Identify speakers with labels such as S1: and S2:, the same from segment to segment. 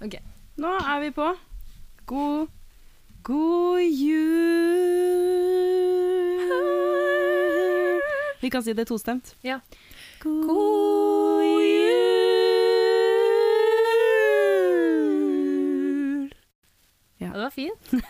S1: Ok, nå er vi på God God jul Vi kan si det tostemt
S2: Ja.
S1: God, jul
S2: Ja, det var fint.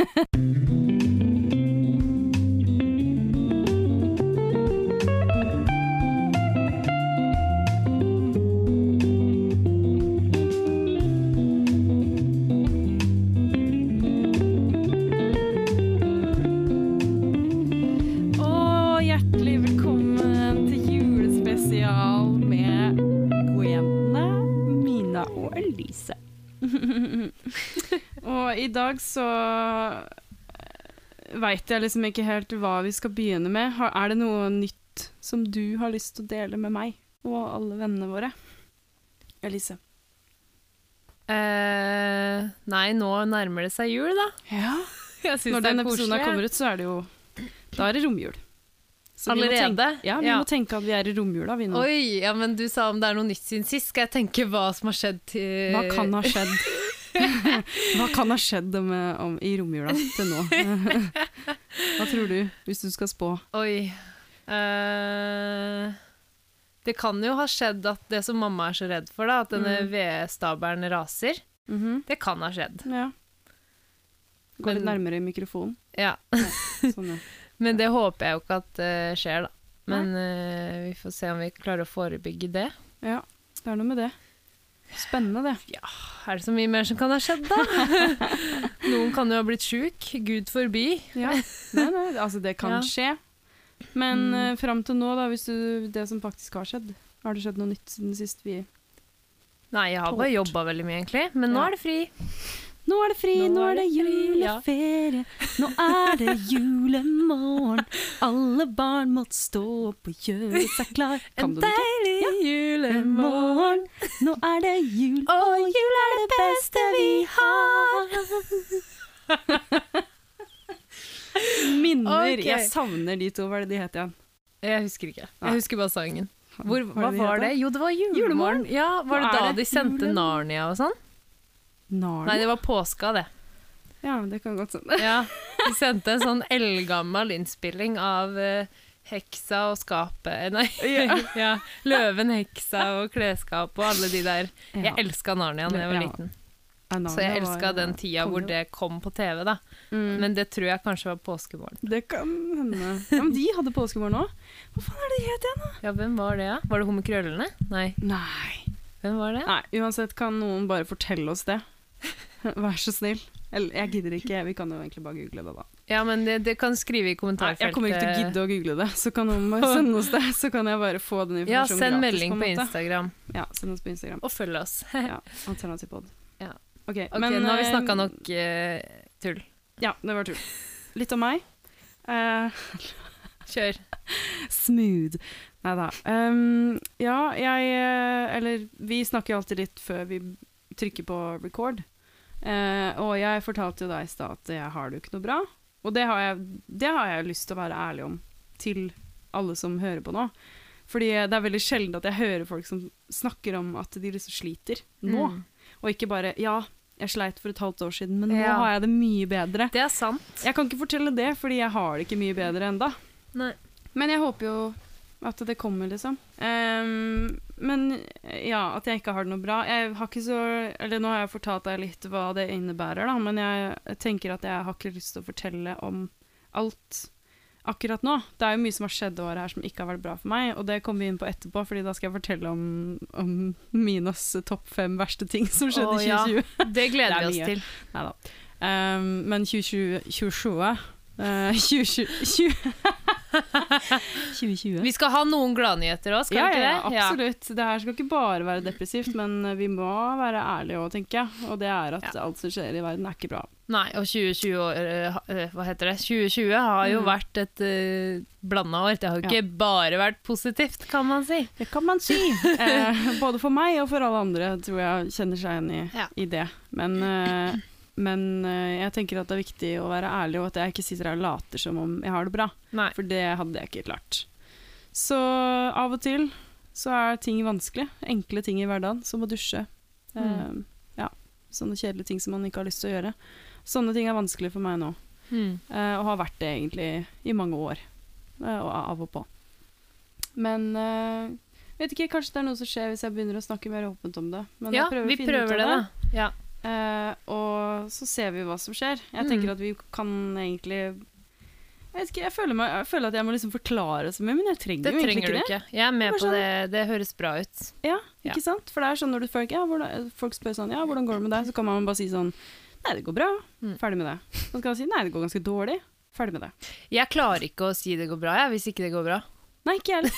S1: Og hjertelig velkommen til julespesial med godjentene Mina og Elise. og i dag så veit jeg liksom ikke helt hva vi skal begynne med. Har- Er det noe nytt som du har lyst til å dele med meg og alle vennene våre? Elise.
S2: Eh, nei, nå nærmer det seg jul, da.
S1: Ja.
S2: Jeg synes
S1: Når
S2: det er
S1: den episoden her
S2: koselig.
S1: kommer ut, så er det jo Da er det romjul. Så vi må
S2: Allerede?
S1: Tenke, ja, vi må tenke at vi er i romjula, vi nå.
S2: Oi, ja, men du sa om det er noe nytt siden sist. Skal jeg tenke hva som har skjedd til
S1: Hva kan ha skjedd? Hva kan ha skjedd om, eh, om, i romjula til nå? Hva tror du, hvis du skal spå?
S2: Oi. Eh, det kan jo ha skjedd at det som mamma er så redd for, da, at denne
S1: Mm.
S2: vedstabelen raser, det kan ha skjedd.
S1: Ja. Gå litt
S2: Mhm. Men-
S1: nærmere i mikrofonen.
S2: Ja.
S1: Sånn, ja.
S2: Men det håper jeg jo ikke at eh, skjer, da. Men eh, vi får se om vi klarer å forebygge det.
S1: ja, det er noe med det. Spennende, det.
S2: Er det så mye mer som kan ha skjedd, da? Noen kan jo ha blitt sjuk. Gud forby.
S1: Ja. Nei, nei, altså, det kan
S2: Ja.
S1: skje. Men mm. fram til nå, da, hvis du, det som faktisk har skjedd Har det skjedd noe nytt siden sist vi
S2: Nei, jeg har bare
S1: Tålt.
S2: jobba veldig mye, egentlig. Men nå
S1: Ja.
S2: er det fri.
S1: Nå er det fri, nå, er det
S2: fri, ja.
S1: juleferie, nå er det julemorgen. Alle barn måtte stå opp og gjøre seg klar. Kan
S2: En
S1: du det ikke?
S2: deilig julemorgen.
S1: Julemorgen, nå er det jul, og jul er det beste vi har. Minner.
S2: Ok.
S1: Jeg savner de to. Hva er det de het igjen?
S2: Jeg husker ikke.
S1: Nei.
S2: Jeg husker bare sangen. Hvor,
S1: Hva er
S2: hva
S1: det de
S2: var
S1: heter?
S2: det? Jo, det var
S1: Julemorgen.
S2: julemorgen. Ja, var det
S1: Nå er
S2: da
S1: det
S2: de sendte
S1: julemorgen.
S2: Narnia og sånn? Nei,
S1: Narnia?
S2: det var påska, det.
S1: Ja, det kan godt hende.
S2: Ja, De sendte en sånn eldgammel innspilling av eh, Heksa og skapet eh, Nei, ja. Løven, heksa og klesskap og alle de der. Jeg elska Narnia da jeg var
S1: Ja.
S2: liten.
S1: Ja, Narnia
S2: Så jeg
S1: Ah, var-
S2: elska den tida hvor
S1: konge.
S2: det kom på TV, da.
S1: Mm.
S2: Men det tror jeg kanskje var påskevåren.
S1: Det kan hende. Ja, men de hadde påskemorgen òg. Hva faen er det de het igjen?
S2: Ja, hvem var det, da? Var det Homme Krøllene? Nei,
S1: Nei.
S2: hvem var det?
S1: Nei, uansett kan noen bare fortelle oss det. Vær så snill. Eller, jeg gidder ikke, vi kan jo egentlig bare google det da.
S2: Ja, men det, det kan skrive i
S1: Nei,
S2: kommentarfeltet.
S1: jeg kommer ikke til å gidde å google det, så kan noen bare sende oss det, så kan jeg bare få den
S2: Ja,
S1: informasjonen
S2: send
S1: sånn gratis
S2: melding på,
S1: en måte.
S2: Instagram.
S1: Ja, send oss på Instagram.
S2: Og følg oss.
S1: Ja, alternativ pod.
S2: Ja.
S1: Ok,
S2: Ok,
S1: men,
S2: nå har vi
S1: eh,
S2: snakka nok eh, tull.
S1: Ja, det var tull. Litt om meg. Eh,
S2: Kjør.
S1: smooth. Nei da. Um, ja, jeg eh, Eller vi snakker jo alltid litt før vi trykker på record. Eh, og jeg fortalte jo deg i stad at jeg har det jo ikke noe bra. Og det har, jeg, det har jeg lyst til å være ærlig om til alle som hører på nå. Fordi det er veldig sjelden at jeg hører folk som snakker om at de liksom sliter nå.
S2: Mm.
S1: Og ikke bare 'ja, jeg sleit for et halvt år siden, men nå
S2: Ja.
S1: har jeg det mye bedre'.
S2: Det er sant.
S1: Jeg kan ikke fortelle det, fordi jeg har det ikke mye bedre enda.
S2: Nei.
S1: Men jeg håper jo at det kommer, liksom. Ehm, men ja, at jeg ikke har det noe bra. Jeg har ikke så Eller nå har jeg fortalt deg litt hva det innebærer, da, men jeg tenker at jeg har ikke lyst til å fortelle om alt akkurat nå. Det er jo mye som har skjedd det året her som ikke har vært bra for meg, og det kommer vi inn på etterpå, fordi da skal jeg fortelle om, om Minas topp fem verste ting som skjedde
S2: Å,
S1: i
S2: ja.
S1: 2020.
S2: Det gleder
S1: Det er
S2: vi
S1: mye.
S2: oss til.
S1: Nei da. Ehm, men 2027 eh, 2020 2020.
S2: Vi skal ha noen gladnyheter òg, skal
S1: Ja, ja,
S2: vi ikke
S1: ja,
S2: det?
S1: absolutt. Det her skal ikke bare være depressivt, men eh, vi må være ærlige òg, tenker jeg. Og det er at alt som skjer i verden, er ikke bra.
S2: Nei, og 2020, år, eh, ha- eh, hva heter det? 2020 har jo
S1: Mm.
S2: vært et uh, blanda år. Det har jo
S1: Ja.
S2: ikke bare vært positivt, kan man si.
S1: Det kan man si. Eh, både for meg og for alle andre tror jeg kjenner seg igjen i,
S2: Ja.
S1: i det. Men, eh, men eh, jeg tenker at det er viktig å være ærlig, og at jeg ikke sitter her og later som om jeg har det bra.
S2: Nei.
S1: For det hadde jeg ikke klart. Så av og til så er ting vanskelig. Enkle ting i hverdagen, som å dusje.
S2: Mm.
S1: Eh, ja. Sånne kjedelige ting som man ikke har lyst til å gjøre. Sånne ting er vanskelig for meg nå,
S2: Mm.
S1: eh, og har vært det egentlig i mange år. eh, og av og på. Men eh, vet ikke, kanskje det er noe som skjer hvis jeg begynner å snakke mer åpent om det. Men
S2: Ja,
S1: jeg prøver
S2: vi
S1: å finne ut av
S2: prøver det, da. Ja.
S1: Eh, og så ser vi hva som skjer. Jeg tenker
S2: Mm.
S1: at vi kan egentlig Jeg vet ikke, jeg føler, meg, jeg føler at jeg må liksom forklare så mye, men jeg trenger
S2: Det
S1: jo egentlig
S2: trenger du
S1: ikke det.
S2: ikke. Jeg er med
S1: Bare sånn.
S2: på det. Det høres bra ut.
S1: Ja,
S2: Ja.
S1: ikke sant? For det er sånn når du folk, ja, hvordan, folk spør sånn Ja, hvordan går det med deg? Så kan man bare si sånn Nei, det går bra.
S2: Mm.
S1: Ferdig med det. Så kan man si nei, det går ganske dårlig. Ferdig med det.
S2: Jeg klarer ikke å si det går bra, jeg, hvis ikke det går bra.
S1: Nei, ikke jeg heller.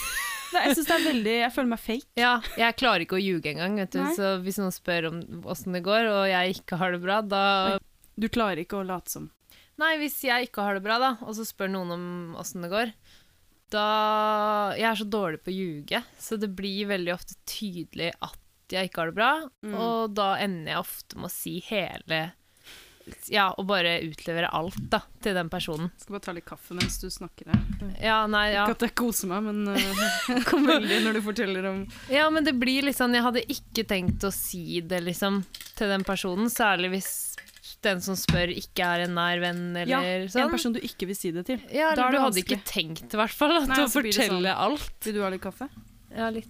S1: Det- Jeg synes det er veldig Jeg føler meg fake.
S2: Ja, jeg klarer ikke å ljuge engang, vet du.
S1: Nei.
S2: Så hvis noen spør om åssen det går, og jeg ikke har det bra, da
S1: Du klarer ikke å late som.
S2: Nei, hvis jeg ikke har det bra, da, og så spør noen om åssen det går, da Jeg er så dårlig på å ljuge, så det blir veldig ofte tydelig at jeg ikke har det bra,
S1: Mm.
S2: og da ender jeg ofte med å si hele Ja, og bare utlevere alt, da, til den personen.
S1: Skal bare ta litt kaffe mens du snakker her.
S2: Ja, nei, ja.
S1: Mm. Ikke at jeg koser meg, men eh, jeg kom veldig når du forteller om
S2: Ja, men det blir litt sånn Jeg hadde ikke tenkt å si det liksom til den personen, særlig hvis den som spør, ikke er en nær venn
S1: Ja,
S2: eller
S1: en
S2: sånn.
S1: person du ikke vil si det til.
S2: Ja,
S1: Da er
S2: eller
S1: det
S2: du hadde
S1: vanskelig.
S2: ikke tenkt, i hvert fall, at
S1: Nei,
S2: å
S1: og så blir det
S2: fortelle
S1: sånn.
S2: alt.
S1: Vil du ha litt kaffe?
S2: Ja, litt.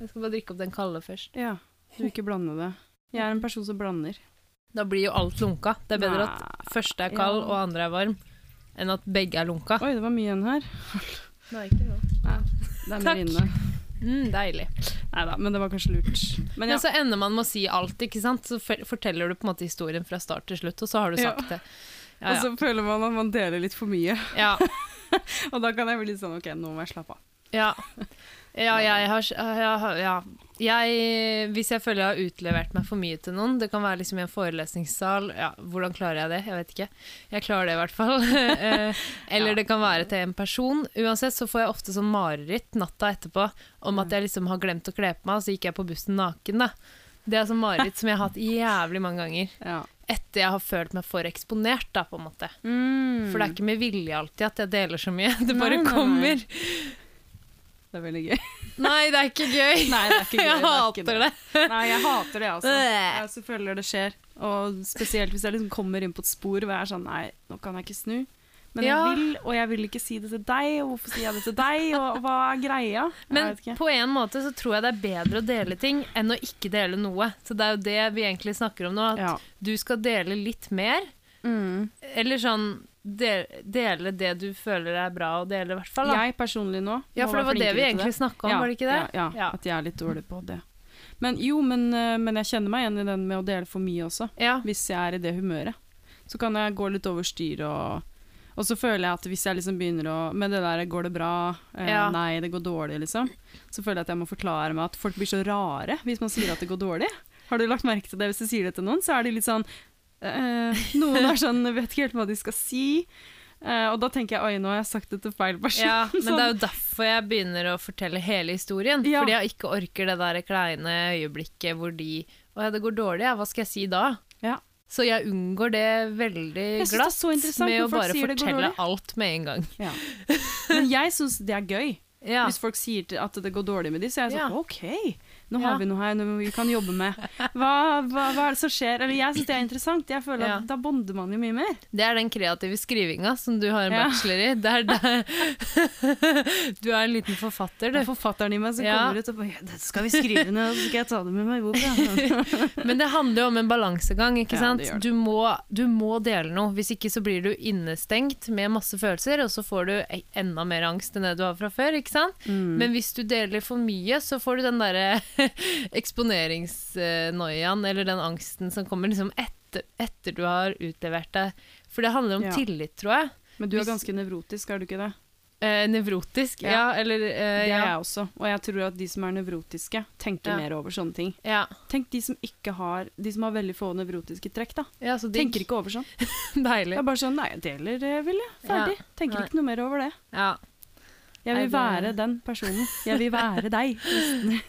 S2: Jeg skal bare drikke opp den kalde først.
S1: Ja. Du vil ikke blande det. Jeg er en person som blander.
S2: Da blir jo alt lunka. Det er bedre at første er kald
S1: Ja.
S2: og andre er varm, enn at begge er lunka.
S1: Oi, det var mye igjen her.
S2: Nei, ikke noe.
S1: Det er
S2: Takk.
S1: mer inne.
S2: Mm, deilig.
S1: Nei da, men det var kanskje lurt. Men
S2: Men
S1: ja,
S2: så ender man med å si alt, ikke sant? Så for- forteller du på en måte historien fra start til slutt, og så har du
S1: Ja.
S2: sagt det. Ja,
S1: Og så føler man at man deler litt for mye.
S2: ja. ja.
S1: Og da kan jeg bli litt sånn OK, nå må jeg slappe av.
S2: ja. Ja, jeg har ja, ja. Jeg, Hvis jeg føler jeg har utlevert meg for mye til noen, det kan være liksom i en forelesningssal ja, Hvordan klarer jeg det? Jeg vet ikke. Jeg klarer det i hvert fall. Eh, Eller
S1: Ja.
S2: det kan være til en person. Uansett så får jeg ofte sånn mareritt natta etterpå om at jeg liksom har glemt å kle på meg, og så gikk jeg på bussen naken, da. Det er sånn mareritt som jeg har hatt jævlig mange ganger
S1: Ja.
S2: etter jeg har følt meg for eksponert, da, på en måte. For det er
S1: det,
S2: ikke med vilje alltid at jeg deler så mye. Det
S1: Nei,
S2: bare
S1: nei, nei.
S2: kommer.
S1: er, veldig gøy.
S2: Nei, det er ikke gøy.
S1: Nei, det er ikke gøy.
S2: Jeg
S1: det er ikke
S2: hater det.
S1: Nei, jeg hater det, altså.
S2: Øh.
S1: Jeg også føler det skjer. Og spesielt hvis jeg liksom kommer inn på et spor hvor jeg er sånn Nei, nå kan jeg ikke snu. Men
S2: Ja.
S1: jeg vil, og jeg vil ikke si det til deg, og hvorfor sier jeg det til deg, og hva er greia? Jeg
S2: Men
S1: vet ikke.
S2: på en måte så tror jeg det er bedre å dele ting enn å ikke dele noe. Så det er jo det vi egentlig snakker om nå, at
S1: ja.
S2: du skal dele litt mer.
S1: mm.
S2: Eller sånn de- dele det du føler er bra å dele, i hvert fall. Da.
S1: Jeg personlig nå
S2: Ja,
S1: må
S2: for det
S1: være
S2: var det
S1: flinkere
S2: vi
S1: til
S2: egentlig snakka om, var det ikke det?
S1: Ja, ja,
S2: Ja.
S1: at jeg er litt dårlig på det. Men jo, men, eh, men jeg kjenner meg igjen i den med å dele for mye også.
S2: Ja.
S1: Hvis jeg er i det humøret. Så kan jeg gå litt over styr og Og så føler jeg at hvis jeg liksom begynner å Med det der 'går det bra', eh,
S2: Ja.
S1: 'nei, det går dårlig', liksom. Så føler jeg at jeg må forklare meg at folk blir så rare hvis man sier at det går dårlig. Har du lagt merke til det? Hvis du sier det til noen, så er de litt sånn eh, Noen er sånn Vet ikke helt hva de skal si. Eh, og da tenker jeg 'oi, nå har jeg sagt det til feil person'.
S2: Ja, men
S1: Sånn.
S2: det er jo derfor jeg begynner å fortelle hele historien.
S1: Ja.
S2: Fordi jeg ikke orker det der kleine øyeblikket hvor de Å ja, det går dårlig, ja. Hva skal jeg si da?
S1: Ja.
S2: Så jeg unngår det veldig
S1: Jeg synes det er
S2: glatt
S1: så interessant
S2: med
S1: når
S2: å
S1: folk
S2: bare
S1: sier det går
S2: fortelle
S1: dårlig.
S2: alt med en gang.
S1: Ja. Men jeg syns det er gøy.
S2: Ja.
S1: Hvis folk sier til- at det går dårlig med de, så er jeg sånn
S2: Ja.
S1: OK, nå
S2: Ja.
S1: har vi noe her noe vi kan jobbe med. Hva, hva, hva er det som skjer? Eller jeg syns det er interessant. Jeg føler
S2: Ja.
S1: at Da bonder man jo mye mer.
S2: Det er den kreative skrivinga som du har en
S1: Ja.
S2: bachelor i. Det er der Du er en liten forfatter,
S1: Det er
S2: du.
S1: forfatteren i meg som
S2: Ja.
S1: kommer ut og bare ja, 'Dette skal vi skrive ned, og så skal jeg ta det med meg i boka'. Sånn.
S2: Men det handler jo om en balansegang, ikke
S1: Ja,
S2: sant.
S1: det gjør det.
S2: du, må, du må dele noe. Hvis ikke så blir du innestengt med masse følelser, og så får du e- enda mer angst enn det du har fra før, ikke sant.
S1: Mm.
S2: Men hvis du deler for mye, så får du den derre eksponeringsnoiaen, eller den angsten som kommer liksom etter, etter du har utlevert deg. For det handler om
S1: Ja.
S2: tillit, tror jeg.
S1: Men du er
S2: hvis-
S1: ganske nevrotisk, er du ikke det?
S2: Eh, nevrotisk,
S1: Ja.
S2: ja. eller eh,
S1: Det er
S2: ja.
S1: jeg også. Og jeg tror at de som er nevrotiske, tenker
S2: Ja.
S1: mer over sånne ting.
S2: Ja.
S1: Tenk de som ikke har De som har veldig få nevrotiske trekk, da.
S2: ja, så digg.
S1: Tenker ikke over sånn. Det
S2: Deilig.
S1: er bare sånn Nei, jeg deler det, vel, jeg. Ferdig. Tenker
S2: Nei.
S1: ikke noe mer over det.
S2: Ja.
S1: Jeg
S2: Nei,
S1: vil
S2: det-
S1: være den personen. Jeg vil være deg.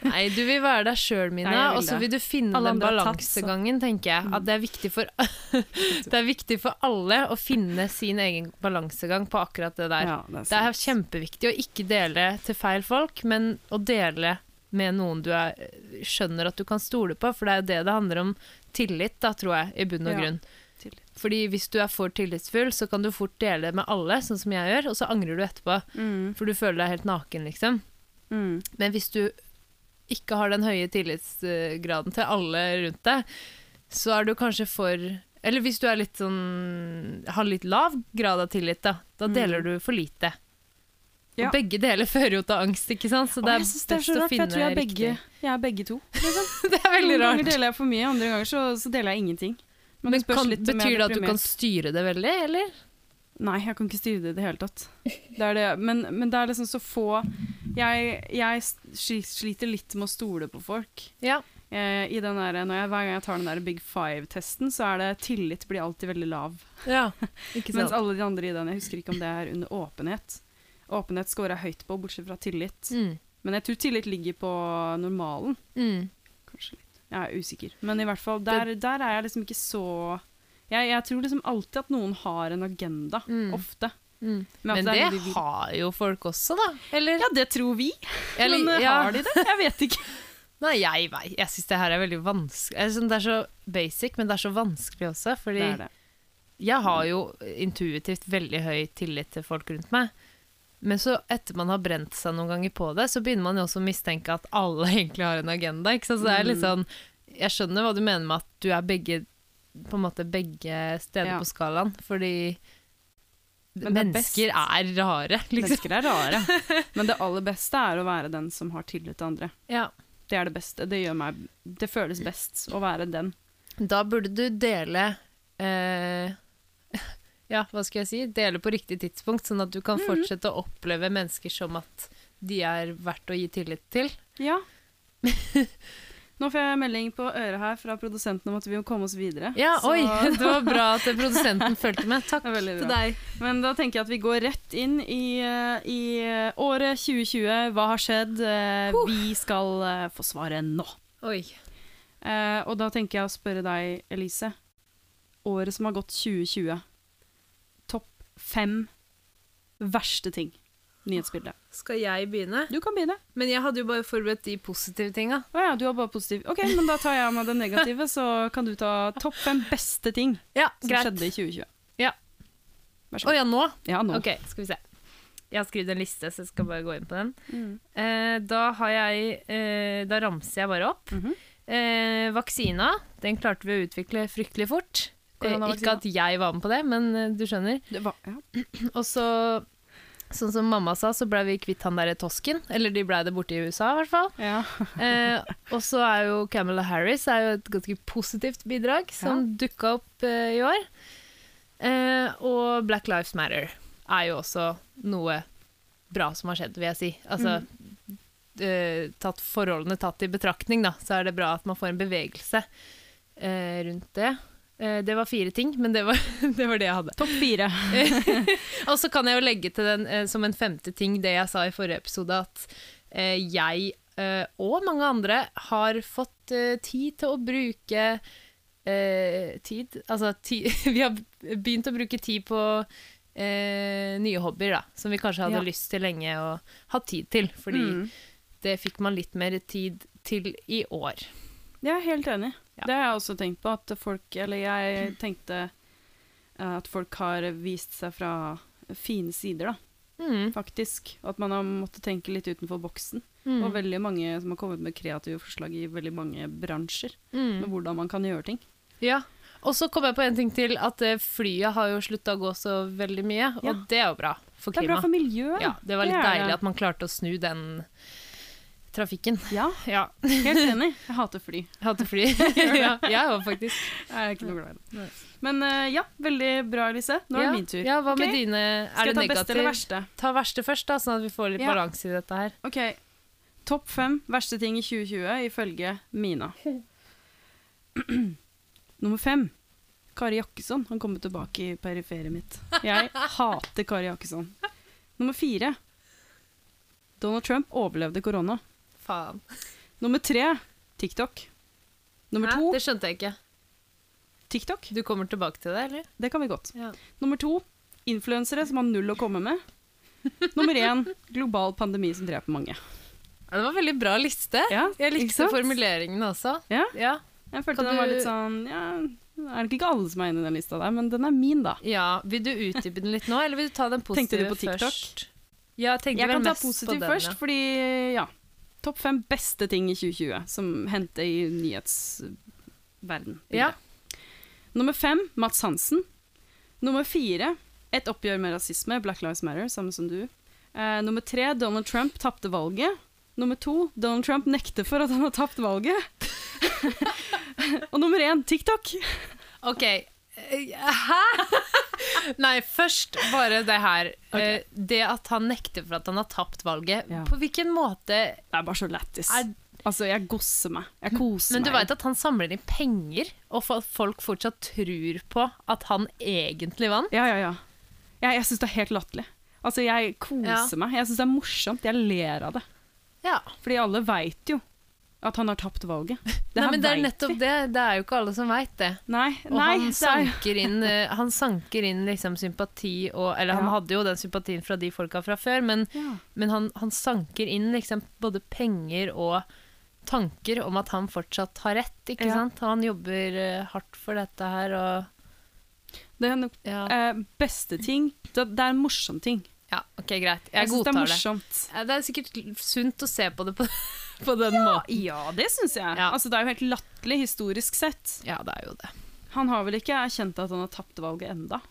S2: Nei, du vil være deg sjøl,
S1: Nei, jeg
S2: Mina,
S1: vil
S2: og
S1: det.
S2: så vil du finne
S1: Alle
S2: den
S1: andre er tatt, så.
S2: balansegangen, tenker jeg. At det er viktig for Det er viktig for alle å finne sin egen balansegang på akkurat det der.
S1: Ja, det
S2: Det er
S1: sant.
S2: kjempeviktig å ikke dele til feil folk, men å dele med noen du er skjønner at du kan stole på, for det er jo det det handler om tillit, da, tror jeg, i bunn og
S1: Ja.
S2: grunn.
S1: Tillit.
S2: Fordi hvis du er for tillitsfull, så kan du fort dele med alle, sånn som jeg gjør, og så angrer du etterpå,
S1: Mm.
S2: for du føler deg helt naken, liksom.
S1: Mm.
S2: Men hvis du ikke har den høye tillitsgraden til alle rundt deg, så er du kanskje for Eller hvis du er litt sånn har litt lav grad av tillit, da, da
S1: Mm.
S2: deler du for lite.
S1: Ja.
S2: Og begge deler fører jo til angst, ikke sant? Så
S1: Å,
S2: det er
S1: jeg synes det er
S2: best
S1: så
S2: å
S1: rart, for
S2: finne
S1: jeg tror jeg er begge,
S2: riktig.
S1: jeg er begge to. liksom.
S2: Det er veldig
S1: Noen ganger
S2: rart.
S1: deler jeg for mye, andre ganger så, så deler jeg ingenting. Men,
S2: Men
S1: det spørs
S2: kan,
S1: litt om jeg
S2: betyr
S1: er
S2: det at du kan
S1: deprimert.
S2: styre det veldig, eller?
S1: Nei, jeg kan ikke styre det i det hele tatt. Det er det, men, men det er liksom så få Jeg, jeg sli- sliter litt med å stole på folk.
S2: Ja.
S1: Eh, I den der, når jeg, hver gang jeg tar den der Big Five-testen, så er det tillit blir alltid veldig lav.
S2: Ikke
S1: Mens
S2: sant?
S1: alle de andre i den, jeg husker ikke om det er under åpenhet. Åpenhet scorer jeg høyt på, bortsett fra tillit.
S2: Mm.
S1: Men jeg tror tillit ligger på normalen.
S2: Mm.
S1: Kanskje litt. Jeg er usikker. Men i hvert fall, der, der er jeg liksom ikke så jeg, jeg tror liksom alltid at noen har en agenda.
S2: Mm.
S1: Ofte.
S2: Mm.
S1: at
S2: Men
S1: det
S2: det
S1: er noe de vil.
S2: har jo folk også, da. Eller?
S1: Ja, det tror vi.
S2: Eller-
S1: men eh,
S2: ja.
S1: har de det? Jeg vet ikke.
S2: Nei, jeg vei- Jeg syns det her er veldig vanskelig. Jeg synes Det er så basic, men det er så vanskelig også. Fordi
S1: Det er det.
S2: jeg har jo intuitivt veldig høy tillit til folk rundt meg. Men så etter man har brent seg noen ganger på det, så begynner man jo også å mistenke at alle egentlig har en agenda. Ikke sant? Så det er litt
S1: Mm.
S2: sånn Jeg skjønner hva du mener med at du er begge på en måte begge steder
S1: Ja.
S2: på skalaen, fordi
S1: Men det er best-
S2: mennesker er rare, liksom.
S1: Mennesker er rare. Men det aller beste er å være den som har tillit til andre.
S2: Ja.
S1: Det er det beste. Det gjør meg Det føles best å være den.
S2: Da burde du dele eh, Ja, hva skal jeg si? Dele på riktig tidspunkt, sånn at du
S1: Mm.
S2: kan fortsette å oppleve mennesker som at de er verdt å gi tillit til.
S1: Ja. Nå får jeg melding på øret her fra produsenten om at vi må komme oss videre.
S2: Ja,
S1: Så-
S2: oi! Det var bra at produsenten fulgte med. Takk
S1: Det er veldig
S2: til
S1: bra.
S2: deg.
S1: Men da tenker jeg at vi går rett inn i, eh, i eh, året 2020. Hva har skjedd? Eh, Vi skal eh, få svaret nå.
S2: Oi.
S1: Eh, og da tenker jeg å spørre deg, Elise. Året som har gått 2020. Topp fem verste ting. Nyhetsbildet.
S2: Skal jeg begynne?
S1: Du kan begynne.
S2: Men jeg hadde jo bare forberedt de positive tinga.
S1: Å ja, du har bare positiv. Ok, men da tar jeg av meg det negative, så kan du ta topp fem beste ting
S2: Ja,
S1: som skjedde i 2020.
S2: Ja.
S1: Vær så
S2: Å
S1: god.
S2: ja, nå?
S1: Ja, nå.
S2: Ok, skal vi se. Jeg har skrevet en liste, så jeg skal bare gå inn på den.
S1: Mm.
S2: Eh, da har jeg eh, Da ramser jeg bare opp.
S1: Mhm.
S2: eh, vaksina, den klarte vi å utvikle fryktelig fort. Eh,
S1: Koronavaksina.
S2: ikke at jeg var med på det, men eh, du skjønner.
S1: Det var, ja.
S2: Og så, sånn som mamma sa, så blei vi kvitt han derre tosken. Eller de blei det borte i USA, i hvert fall.
S1: Ja.
S2: Eh, og så er jo Camilla Harris er jo et ganske positivt bidrag som dukka opp eh, i år. Eh, og Black Lives Matter er jo også noe bra som har skjedd, vil jeg si. Altså, eh, tatt forholdene tatt i betraktning, da, så er det bra at man får en bevegelse eh, rundt det. Eh, det var fire ting, men det var det, var det jeg hadde.
S1: Topp fire.
S2: Og så kan jeg jo legge til den eh, som en femte ting det jeg sa i forrige episode, at eh, jeg eh, og mange andre har fått eh, tid til å bruke eh, Tid? Altså ti, vi har begynt å bruke tid på eh, nye hobbyer, da. Som vi kanskje hadde
S1: Ja.
S2: lyst til lenge å ha tid til. Fordi
S1: Mm.
S2: det fikk man litt mer tid til i år.
S1: Jeg er helt enig.
S2: Ja.
S1: Det har jeg også tenkt på. At folk, eller jeg tenkte eh, at folk har vist seg fra fine sider, da,
S2: Mm.
S1: faktisk. At man har måttet tenke litt utenfor boksen.
S2: Mm.
S1: Og veldig mange som har kommet med kreative forslag i veldig mange bransjer.
S2: Mm.
S1: Med hvordan man kan gjøre ting.
S2: Ja. Og så kom jeg på en ting til, at eh, flyet har jo slutta å gå så veldig mye. Og
S1: Ja.
S2: det er jo bra for
S1: Det er
S2: klimaet.
S1: bra for miljøet.
S2: Ja, det var
S1: Det
S2: litt
S1: er
S2: deilig
S1: det.
S2: at man klarte å snu den trafikken.
S1: Ja,
S2: Ja.
S1: helt enig. Jeg hater fly.
S2: Jeg hadde fly. ja, jeg òg, faktisk.
S1: Jeg er ikke noe glad i det.
S2: Nei.
S1: Men eh, ja, veldig bra, Elise. Nå er
S2: ja.
S1: det min tur.
S2: Ja, hva med
S1: Ok.
S2: dine
S1: Skal
S2: Er det
S1: jeg ta beste eller
S2: negativt?
S1: verste?
S2: Ta verste først, da, sånn at vi får litt
S1: Ja.
S2: balanse i dette her.
S1: Ok. Topp fem verste ting i 2020 ifølge Mina. Nummer fem. Kari Jakkesson. Han kommer tilbake i periferiet mitt. Jeg hater Kari Jakkesson. Nummer fire. Donald Trump overlevde korona.
S2: Faen.
S1: Nummer tre. TikTok. Nummer
S2: Hæ?
S1: to.
S2: Det skjønte jeg ikke.
S1: TikTok.
S2: Du kommer tilbake til det, eller?
S1: Det kan vi godt.
S2: Ja.
S1: Nummer to. Influensere som har null å komme med. Nummer én. Global pandemi som dreper mange.
S2: Ja, det var en veldig bra liste.
S1: Ja,
S2: Jeg
S1: ikke
S2: likte
S1: sant?
S2: formuleringene også.
S1: Ja.
S2: Ja.
S1: Jeg følte
S2: Kan
S1: den var
S2: du-
S1: litt sånn ja, Det er nok ikke alle som er inne i den lista der, men den er min, da.
S2: Ja, Vil du utdype den litt nå, eller vil du ta den
S1: Tenkte
S2: positive
S1: du på TikTok?
S2: først? Ja, tenkte
S1: Jeg
S2: vel
S1: kan ta
S2: mest på
S1: positiv
S2: den,
S1: først,
S2: ja.
S1: fordi ja. Topp fem beste ting i 2020 som hendte i nyhetsverden.
S2: Ja.
S1: Nummer fem Mats Hansen. Nummer fire et oppgjør med rasisme, Black Lives Matter, samme som du. Eh, nummer tre Donald Trump tapte valget. Nummer to Donald Trump nekter for at han har tapt valget. Og nummer én TikTok.
S2: Ok. Eh, Hæ?! Nei, først bare det her.
S1: Ok.
S2: Eh, Det at han nekter for at han har tapt valget.
S1: Ja.
S2: På hvilken måte
S1: Det er bare så lættis.
S2: er
S1: Altså, jeg gosser meg. Jeg koser
S2: Men du
S1: meg.
S2: veit at han samler inn penger, og fo- folk fortsatt tror på at han egentlig vant?
S1: Ja, ja, ja. Jeg, jeg syns det er helt latterlig. Altså, jeg koser meg. Jeg syns det er morsomt. Jeg ler av det.
S2: Ja.
S1: Fordi alle veit jo at han har tapt valget. Det
S2: Nei,
S1: her
S2: men det er
S1: vet
S2: nettopp
S1: vi.
S2: det. Det er jo ikke alle som veit det.
S1: Nei,
S2: Og
S1: nei
S2: han,
S1: det er,
S2: sanker inn, eh, han sanker inn liksom sympati og Eller han
S1: Ja.
S2: hadde jo den sympatien fra de folka fra før, men,
S1: ja.
S2: men han, han sanker inn liksom både penger og tanker om at han fortsatt har rett, ikke
S1: Ja.
S2: sant? Han jobber eh, hardt for dette her og
S1: det er nok
S2: Ja,
S1: eh, beste ting. Det, det er en morsom ting.
S2: ja ok, greit. Jeg,
S1: Jeg, synes syns det er
S2: godtar det.
S1: morsomt.
S2: Ja, Det er sikkert sunt å se på det på, på den måten.
S1: Ja, det syns jeg.
S2: Ja.
S1: Altså, det er jo helt latterlig historisk sett.
S2: Ja, det er jo det.
S1: Han har vel ikke erkjent at han har tapt valget enda.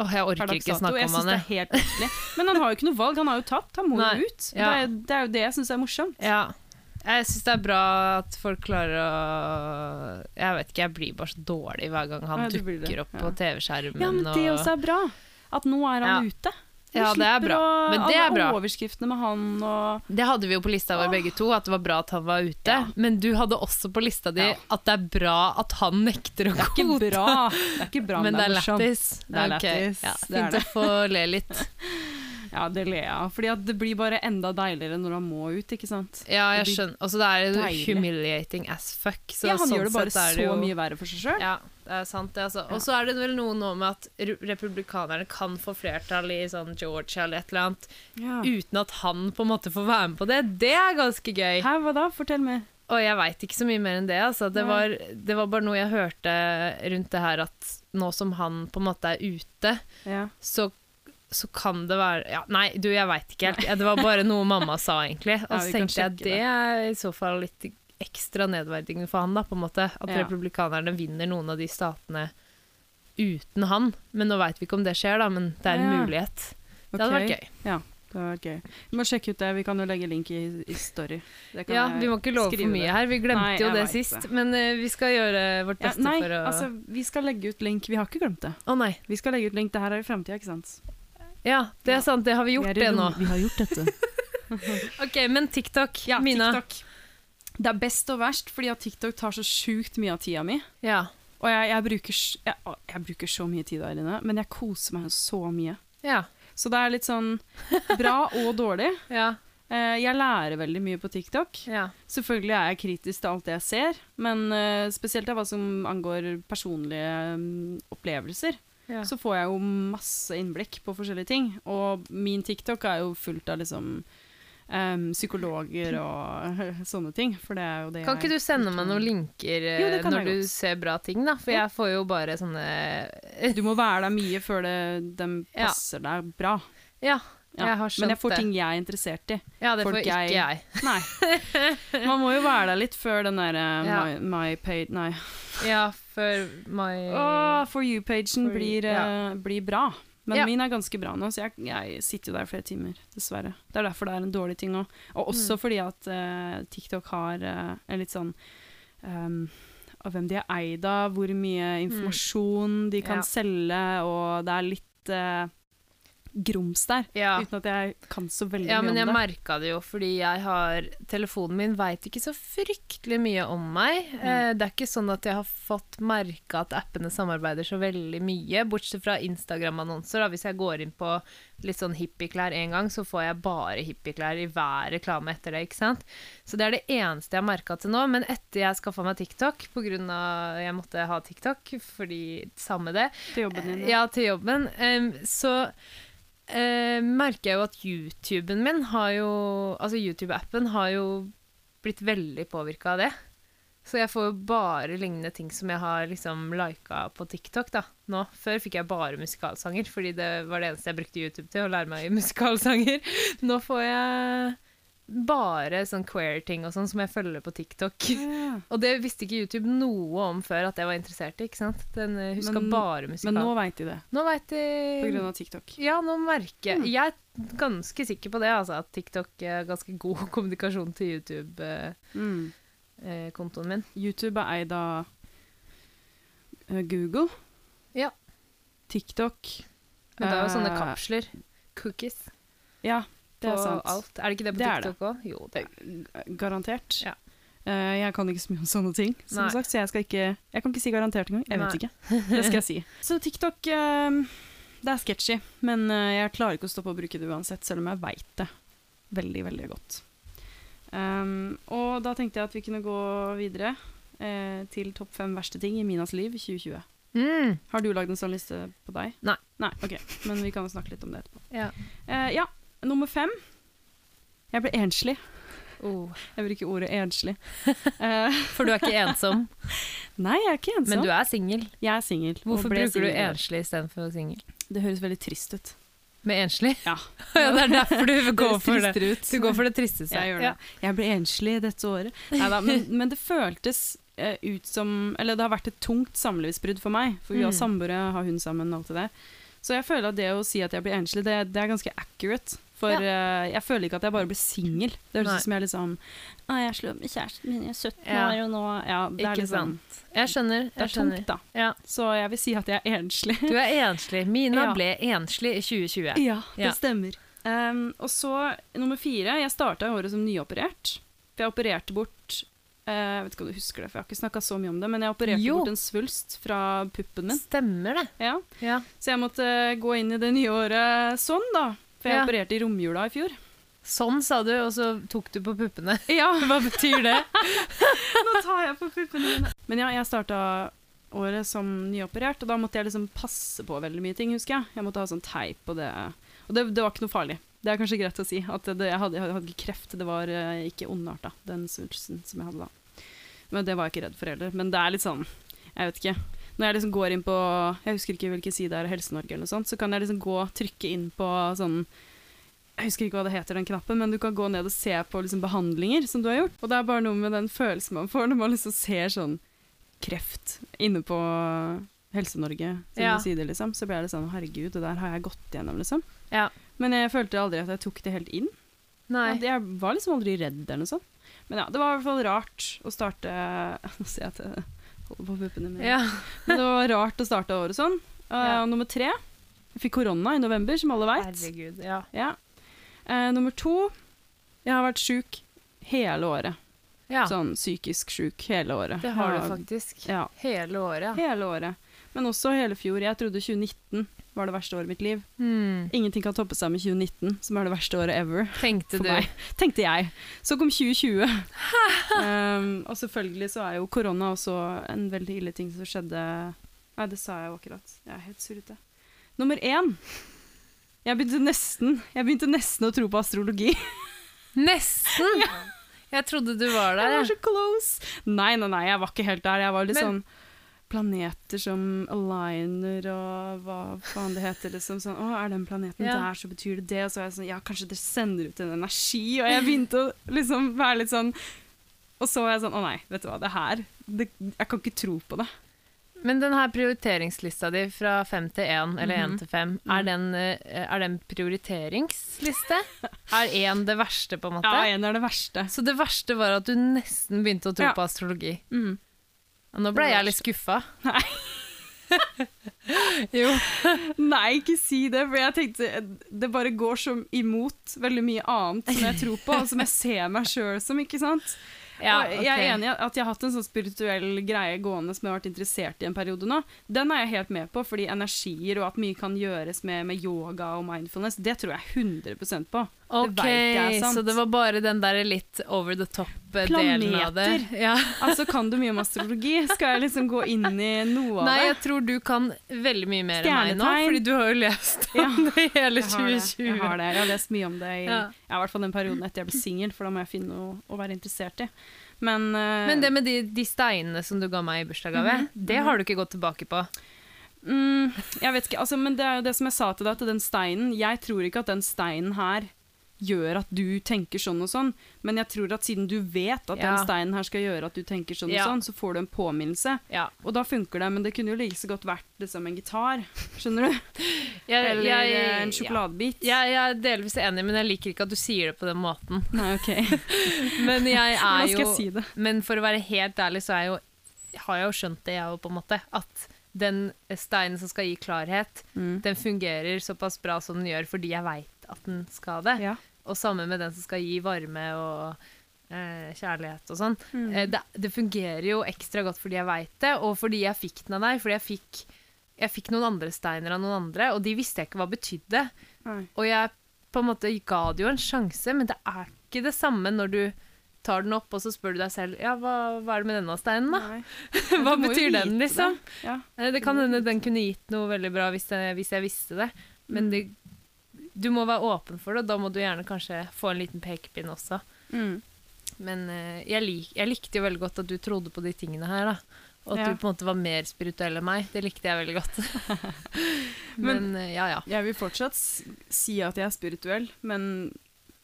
S2: Åh, jeg
S1: per
S2: orker
S1: dags
S2: ikke
S1: dato.
S2: snakke
S1: Jeg
S2: om
S1: synes
S2: han,
S1: det er
S2: jeg.
S1: helt latterlig. Men han har jo ikke noe valg. Han har jo tapt. Han må
S2: Nei,
S1: jo ut.
S2: ja.
S1: Det, er, det er jo det jeg syns er morsomt.
S2: Ja. Jeg syns det er bra at folk klarer å Jeg vet ikke, jeg blir bare så dårlig hver gang han
S1: Ja, du blir det,
S2: dukker opp
S1: ja.
S2: på TV-skjermen.
S1: Ja, men det
S2: og-
S1: også er bra. At nå er han
S2: Ja.
S1: ute.
S2: Ja, det er bra.
S1: å-
S2: Men det er
S1: alle
S2: bra.
S1: overskriftene med han og
S2: Det hadde vi jo på lista vår
S1: Åh.
S2: begge to, at det var bra at han var ute.
S1: Ja.
S2: Men du hadde også på lista di
S1: Ja.
S2: at det er bra at han nekter
S1: Det er
S2: å godta.
S1: ikke bra. Det er ikke bra,
S2: men det er
S1: morsomt.
S2: lættis.
S1: Det er
S2: Ok,
S1: lættis,
S2: Ja,
S1: det er
S2: fint å få le litt.
S1: Ja, det ler jeg av. Fordi at det blir bare enda deiligere når han må ut, ikke sant.
S2: Ja, jeg
S1: Det
S2: skjønner. Og så er det
S1: deilig.
S2: humiliating as fuck. Så
S1: ja, han
S2: sånn
S1: gjør det bare
S2: sett er det
S1: så
S2: jo-
S1: mye verre for seg sjøl.
S2: Ja, det er sant det, altså. Og så er det vel noe nå med at ru- republikanerne kan få flertall i sånn Georgia eller et eller annet, uten at han på en måte får være med på det. Det er ganske gøy.
S1: Hæ, hva da? Fortell mer.
S2: Og jeg veit ikke så mye mer enn det, altså. Det
S1: Nei.
S2: var, det var bare noe jeg hørte rundt det her at nå som han på en måte er ute,
S1: Ja.
S2: så så kan det være ja, Nei, du, jeg veit ikke helt. Det var bare noe mamma sa, egentlig. Og
S1: Ja, vi
S2: så
S1: kan
S2: tenkte jeg
S1: sjekke
S2: det er i så fall litt ekstra nedverdigende for han, da, på en måte. At
S1: Ja.
S2: republikanerne vinner noen av de statene uten han. Men nå veit vi ikke om det skjer, da, men det er en
S1: Ja.
S2: mulighet. Det hadde vært gøy.
S1: Det hadde vært gøy. Vi må sjekke ut det. Vi kan jo legge link i, i story. Det kan
S2: Ja,
S1: jeg
S2: vi må ikke love
S1: skrive
S2: for mye
S1: det.
S2: her. Vi glemte
S1: Nei,
S2: jo
S1: jeg
S2: det
S1: vet
S2: sist,
S1: det.
S2: men eh, vi skal gjøre vårt
S1: Ja,
S2: beste
S1: nei,
S2: for å Å
S1: altså, vi skal legge ut link. Vi har ikke glemt det.
S2: nei.
S1: Vi skal legge ut link. Det her er i framtida, ikke sant?
S2: Ja, det
S1: Ja.
S2: er sant. Det har vi
S1: Vi er
S2: gjort,
S1: i
S2: det nå.
S1: rom- Vi har gjort dette.
S2: OK, men TikTok,
S1: Ja,
S2: Mina.
S1: TikTok. Det er best og verst, fordi at TikTok tar så sjukt mye av tida mi.
S2: Ja.
S1: Og jeg, jeg, bruker, s- jeg, å, jeg bruker så mye tid der inne, men jeg koser meg så mye.
S2: Ja.
S1: Så det er litt sånn bra og dårlig.
S2: Ja.
S1: Eh, Jeg lærer veldig mye på TikTok.
S2: ja.
S1: Selvfølgelig er jeg kritisk til alt det jeg ser, men eh, spesielt av hva som angår personlige mm, opplevelser,
S2: ja.
S1: så får jeg jo masse innblikk på forskjellige ting. Og min TikTok er jo fullt av liksom em, psykologer og sånne ting, for det er jo det
S2: Kan ikke du sende meg noen linker eh,
S1: Jo, det kan
S2: når
S1: jeg
S2: du
S1: godt.
S2: ser bra ting, da? For
S1: Ja.
S2: jeg får jo bare sånne
S1: Du må være der mye før det, dem
S2: Ja.
S1: passer deg bra.
S2: Ja,
S1: Ja,
S2: jeg har skjønt
S1: Men jeg får
S2: det.
S1: ting jeg er interessert i.
S2: ja, det
S1: folk
S2: får ikke
S1: jeg-
S2: jeg.
S1: Nei. Man må jo være der litt før den derre
S2: Ja.
S1: my, my page Nei.
S2: Ja, for my
S1: Åh, for you-pagen
S2: For you,
S1: blir,
S2: ja.
S1: eh, blir bra. Men
S2: Ja.
S1: min er ganske bra nå, så jeg, jeg sitter jo der i flere timer, dessverre. Det er derfor det er en dårlig ting òg. Og
S2: Mm.
S1: også fordi at eh, TikTok har eh, en litt sånn ehm, Av hvem de er eid av, hvor mye informasjon de kan
S2: Mm. Ja.
S1: selge, og det er litt eh, grums der.
S2: Ja.
S1: Uten at jeg kan så veldig
S2: ja, men
S1: mye
S2: jeg
S1: om det.
S2: merka det jo, fordi jeg har Telefonen min veit ikke så fryktelig mye om meg.
S1: Mm.
S2: Eh, det er ikke sånn at jeg har fått merka at appene samarbeider så veldig mye, bortsett fra Instagram-annonser. da. Hvis jeg går inn på litt sånn hippieklær én gang, så får jeg bare hippieklær i hver reklame etter det, ikke sant. Så det er det eneste jeg har merka til nå. Men etter jeg skaffa meg TikTok, pga. jeg måtte ha TikTok fordi samme det,
S1: Til jobben din.
S2: ja, til jobben. Em, så eh, merker jeg jo at YouTuben min har jo Altså YouTube-appen har jo blitt veldig påvirka av det. Så jeg får jo bare lignende ting som jeg har liksom lika på TikTok da, nå. Før fikk jeg bare musikalsanger, fordi det var det eneste jeg brukte YouTube til, å lære meg musikalsanger. Nå får jeg bare sånn queer-ting og sånn som jeg følger på TikTok.
S1: Ja.
S2: Og det visste ikke YouTube noe om før at jeg var interessert i, ikke sant? Den eh, huska
S1: Men-
S2: bare musikal.
S1: Men nå veit de det,
S2: nå veit de
S1: på grunn av Mm. TikTok.
S2: Ja, nå merker jeg Jeg er ganske sikker på det, altså, at TikTok er ganske god kommunikasjon til YouTube-kontoen
S1: Mm.
S2: min.
S1: YouTube er eid av eh, Google.
S2: Ja.
S1: TikTok.
S2: Men det er jo sånne
S1: Eh,
S2: kapsler. Cookies.
S1: Ja,
S2: På
S1: det er sant.
S2: alt. Er det ikke det på
S1: Det er det.
S2: TikTok òg? Jo, det.
S1: G- Garantert.
S2: Ja.
S1: Eh, jeg kan ikke så mye om sånne ting, som
S2: Nei.
S1: sagt, så jeg, skal ikke, jeg kan ikke si garantert engang. Jeg vet
S2: Nei.
S1: ikke. Det skal jeg si. Så TikTok eh, Det er sketchy, men eh, jeg klarer ikke å stoppe å bruke det uansett, selv om jeg veit det veldig, veldig godt. Um, og da tenkte jeg at vi kunne gå videre eh, til topp fem verste ting i Minas liv 2020.
S2: Mm.
S1: Har du lagd en sånn liste på deg?
S2: Nei.
S1: Nei, ok. Men vi kan jo snakke litt om det etterpå.
S2: Ja.
S1: Eh, ja, nummer fem. Jeg ble enslig.
S2: Oh.
S1: Jeg bruker ordet enslig. Eh,
S2: For du er ikke ensom,
S1: nei, jeg er ikke ensom.
S2: men du er singel.
S1: Jeg er singel. og
S2: Hvorfor
S1: ble
S2: bruker du
S1: singel i år.
S2: enslig istedenfor singel?
S1: Det høres veldig trist ut.
S2: Med enslig?
S1: Ja.
S2: ja, det er derfor du
S1: Det
S2: går
S1: høres
S2: for det.
S1: tristere ut.
S2: Du går for det tristeste.
S1: Jeg gjør det.
S2: Ja.
S1: Jeg ble enslig dette året. Neida, men, men det føltes eh, ut som Eller det har vært et tungt samlivsbrudd for meg. For vi har
S2: Mm.
S1: samboere, har hun sammen, alt det der. Så jeg føler at det å si at jeg blir enslig, det, det er ganske accurate. For
S2: Ja.
S1: eh, jeg føler ikke at jeg bare blir singel. Det høres
S2: Nei.
S1: ut som jeg liksom Å, jeg er slå med kjæresten min, jeg er 17
S2: Ja.
S1: år, og nå Ja, det
S2: Ikke
S1: er liksom
S2: Jeg skjønner.
S1: Det
S2: Jeg
S1: er tungt,
S2: skjønner.
S1: da.
S2: Ja.
S1: Så jeg vil si at jeg er enslig.
S2: Du er enslig. Mina
S1: Ja.
S2: ble enslig i 2020.
S1: Ja, det
S2: Ja.
S1: stemmer. Ehm, og så nummer fire. Jeg starta året som nyoperert. For jeg opererte bort eh, Jeg vet ikke om du husker det, for jeg har ikke snakka så mye om det, men jeg opererte
S2: Jo.
S1: bort en svulst fra puppen min.
S2: Stemmer det.
S1: Ja.
S2: Ja.
S1: Så jeg måtte gå inn i det nye året sånn, da. For jeg
S2: Ja.
S1: opererte i romjula i fjor.
S2: Sånn sa du, og så tok du på puppene.
S1: Ja,
S2: Hva betyr det?
S1: nå tar jeg på puppene mine. Men ja, jeg starta året som nyoperert, og da måtte jeg liksom passe på veldig mye ting, husker jeg. Jeg måtte ha sånn teip og det Og det, det var ikke noe farlig. Det er kanskje greit å si. At det, jeg, hadde, jeg hadde ikke kreft, det var eh, ikke ondarta, den svulsten som jeg hadde da. Men det var jeg ikke redd for heller. Men det er litt sånn, jeg vet ikke. Når jeg liksom går inn på Jeg husker ikke hvilken side det er, Helse-Norge eller noe sånt, så kan jeg liksom gå trykke inn på sånn jeg husker ikke hva det heter, den knappen, men du kan gå ned og se på liksom behandlinger som du har gjort. Og det er bare noe med den følelsen man får når man liksom ser sånn kreft inne på Helse-Norge sine
S2: Ja.
S1: sider, liksom. Så blir jeg litt sånn herregud, det der har jeg gått gjennom, liksom.
S2: Ja.
S1: Men jeg følte aldri at jeg tok det helt inn.
S2: Nei.
S1: At Jeg var liksom aldri redd eller noe sånt. Men ja, det var i hvert fall rart å starte Nå ser jeg at jeg holder på puppene mine.
S2: Ja.
S1: Men det var rart å starte året sånn. Og
S2: Ja.
S1: nummer tre Jeg fikk korona i november, som alle veit.
S2: Herregud. Ja.
S1: Ja. Eh, nummer to Jeg har vært sjuk hele året.
S2: ja.
S1: Sånn psykisk sjuk hele året.
S2: Det har du
S1: Ja.
S2: faktisk.
S1: Ja,
S2: Hele året. ja.
S1: hele året. Men også hele fjor. Jeg trodde 2019 var det verste året i mitt liv.
S2: Hmm.
S1: Ingenting kan toppe seg med 2019, som er det verste året ever
S2: Tenkte
S1: for
S2: du.
S1: meg. Tenkte jeg. Så kom 2020. um, og selvfølgelig så er jo korona også en veldig ille ting som skjedde Nei, det sa jeg jo akkurat. Jeg er helt surrete. Nummer én. Jeg begynte nesten, jeg begynte nesten å tro på astrologi.
S2: Nesten! Jeg trodde du var der.
S1: Jeg
S2: jeg.
S1: var så close. Nei, nei, nei, jeg var ikke helt der. Jeg var litt
S2: Men-
S1: sånn Planeter som aligner og hva faen det heter. Liksom sånn Å, er den planeten
S2: Ja.
S1: der, så betyr det det. Og så var jeg sånn Ja, kanskje det sender ut en energi. Og jeg begynte å liksom være litt sånn Og så var jeg sånn Å nei, vet du hva, det her det, Jeg kan ikke tro på det.
S2: Men den her prioriteringslista di fra fem til én, eller én
S1: Mhm.
S2: til fem, er den, eh, er den prioriteringsliste? er én det verste, på en måte?
S1: Ja, en er det verste.
S2: Så det verste var at du nesten begynte å tro
S1: Ja.
S2: på astrologi.
S1: Mm.
S2: Og Nå ble
S1: Det
S2: jeg
S1: verste.
S2: litt skuffa.
S1: Nei.
S2: jo.
S1: Nei, ikke si det, for jeg tenkte det bare går så imot veldig mye annet som jeg tror på, og som jeg ser meg sjøl som, ikke sant?
S2: Ja,
S1: Og Jeg er
S2: ok.
S1: enig i at jeg har hatt en sånn spirituell greie gående som jeg har vært interessert i en periode nå. Den er jeg helt med på, fordi energier og at mye kan gjøres med, med yoga og mindfulness, det tror jeg 100 på.
S2: Ok,
S1: vet jeg er sant.
S2: så det var bare den der litt over the top-delen av det.
S1: Planeter.
S2: Ja.
S1: Altså, kan du mye om astrologi? Skal jeg liksom gå inn i noe av
S2: Nei,
S1: det?
S2: jeg tror du kan veldig mye mer enn meg nå,
S1: Stjernetegn.
S2: fordi du har jo lest
S1: Ja,
S2: om det hele
S1: Jeg har det.
S2: 2020.
S1: Jeg har det. Jeg har lest mye om det i ja.
S2: Ja.
S1: i hvert fall den perioden etter jeg ble singel, for da må jeg finne noe å være interessert i. Men, eh,
S2: Men det med de, de steinene som du ga meg i bursdagsgave,
S1: Mhm.
S2: det har du ikke gått tilbake på.
S1: mm, Jeg vet ikke, altså, men det er jo det som jeg sa til deg, at den steinen Jeg tror ikke at den steinen her gjør at du tenker sånn og sånn, men jeg tror at siden du vet at den
S2: Ja.
S1: steinen her skal gjøre at du tenker sånn
S2: Ja.
S1: og sånn, så får du en påminnelse.
S2: Ja.
S1: Og da funker det, men det kunne jo like så godt vært liksom, en gitar, skjønner du?
S2: Jeg,
S1: Eller
S2: jeg-
S1: eh, en
S2: ja.
S1: sjokoladebit.
S2: Jeg, jeg er delvis enig, men jeg liker ikke at du sier det på den måten.
S1: Nei, ok. Hvordan
S2: Men jeg
S1: skal
S2: er
S1: jeg
S2: jo
S1: si det?
S2: Men for å være helt ærlig, så er jo, har jeg jo skjønt det, jeg òg, på en måte. At den steinen som skal gi klarhet, den fungerer såpass bra som den gjør fordi jeg veit at den skal det.
S1: Ja.
S2: Og samme med den som skal gi varme og eh, kjærlighet og sånn.
S1: Mm.
S2: Eh, det, det fungerer jo ekstra godt fordi jeg veit det, og fordi jeg fikk den av deg. Fordi jeg fikk, jeg fikk noen andre steiner av noen andre, og de visste jeg ikke hva betydde.
S1: Nei.
S2: Og jeg på en måte ga det jo en sjanse, men det er ikke det samme når du tar den opp, og så spør du deg selv ja, hva, hva er det med denne steinen, da?
S1: Nei. Du må
S2: Hva
S1: jo
S2: betyr den,
S1: vite det.
S2: liksom?
S1: Ja.
S2: Eh, Det kan hende den kunne gitt noe veldig bra hvis jeg, hvis jeg visste det,
S1: Mm.
S2: men det, du må være åpen for det, og da må du gjerne kanskje få en liten pekepinn også.
S1: Mm,
S2: Men eh, jeg, lik, jeg likte jo veldig godt at du trodde på de tingene her, da. Og at
S1: Ja.
S2: du på en måte var mer spirituell enn meg. Det likte jeg veldig godt. men
S1: Men-
S2: eh, ja, ja.
S1: Jeg vil fortsatt s- si at jeg er spirituell, men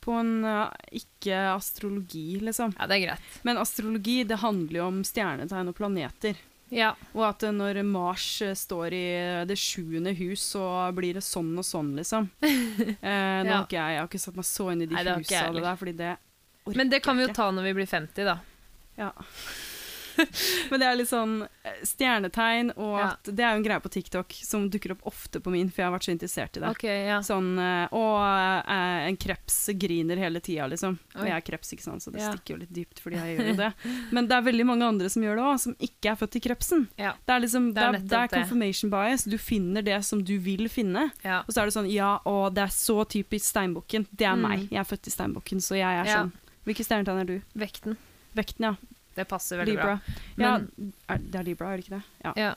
S1: på en ja, ikke astrologi, liksom.
S2: Ja, det er greit.
S1: Men astrologi, det handler jo om stjernetegn og planeter.
S2: Ja.
S1: Og at eh, når Mars eh, står i det sjuende hus, så blir det sånn og sånn, liksom. Eh, nå har
S2: Ja.
S1: ikke jeg, jeg har ikke satt meg så inn i de
S2: Nei, det har ikke
S1: husa
S2: jeg
S1: og det
S2: heller.
S1: der, fordi det orker
S2: Men det kan vi
S1: jeg
S2: jo ta når vi blir 50, da.
S1: Ja. Men det er litt sånn eh, stjernetegn, og
S2: Ja.
S1: at det er jo en greie på TikTok som dukker opp ofte på min, for jeg har vært så interessert i det.
S2: Ok, ja.
S1: Sånn eh, Å, eh, en kreps griner hele tida, liksom. Og
S2: Oi.
S1: jeg er kreps, ikke sant, så det
S2: Ja.
S1: stikker jo litt dypt fordi jeg gjør jo det. Men det er veldig mange andre som gjør det òg, som ikke er født i krepsen.
S2: Ja.
S1: Det er liksom
S2: Det
S1: det
S2: er
S1: er, det
S2: nettopp
S1: er
S2: det.
S1: confirmation bias. Du finner det som du vil finne.
S2: ja.
S1: Og så er det sånn Ja, å, det er så typisk steinbukken. Det er
S2: Mm.
S1: meg. Jeg er født i steinbukken, så jeg er
S2: Ja.
S1: sånn. Hvilke stjernetegn er du?
S2: Vekten.
S1: Vekten, ja.
S2: Det passer veldig
S1: Libra.
S2: bra.
S1: Ja,
S2: Men-
S1: er, det er Libra, er det ikke det? Ja.
S2: ja.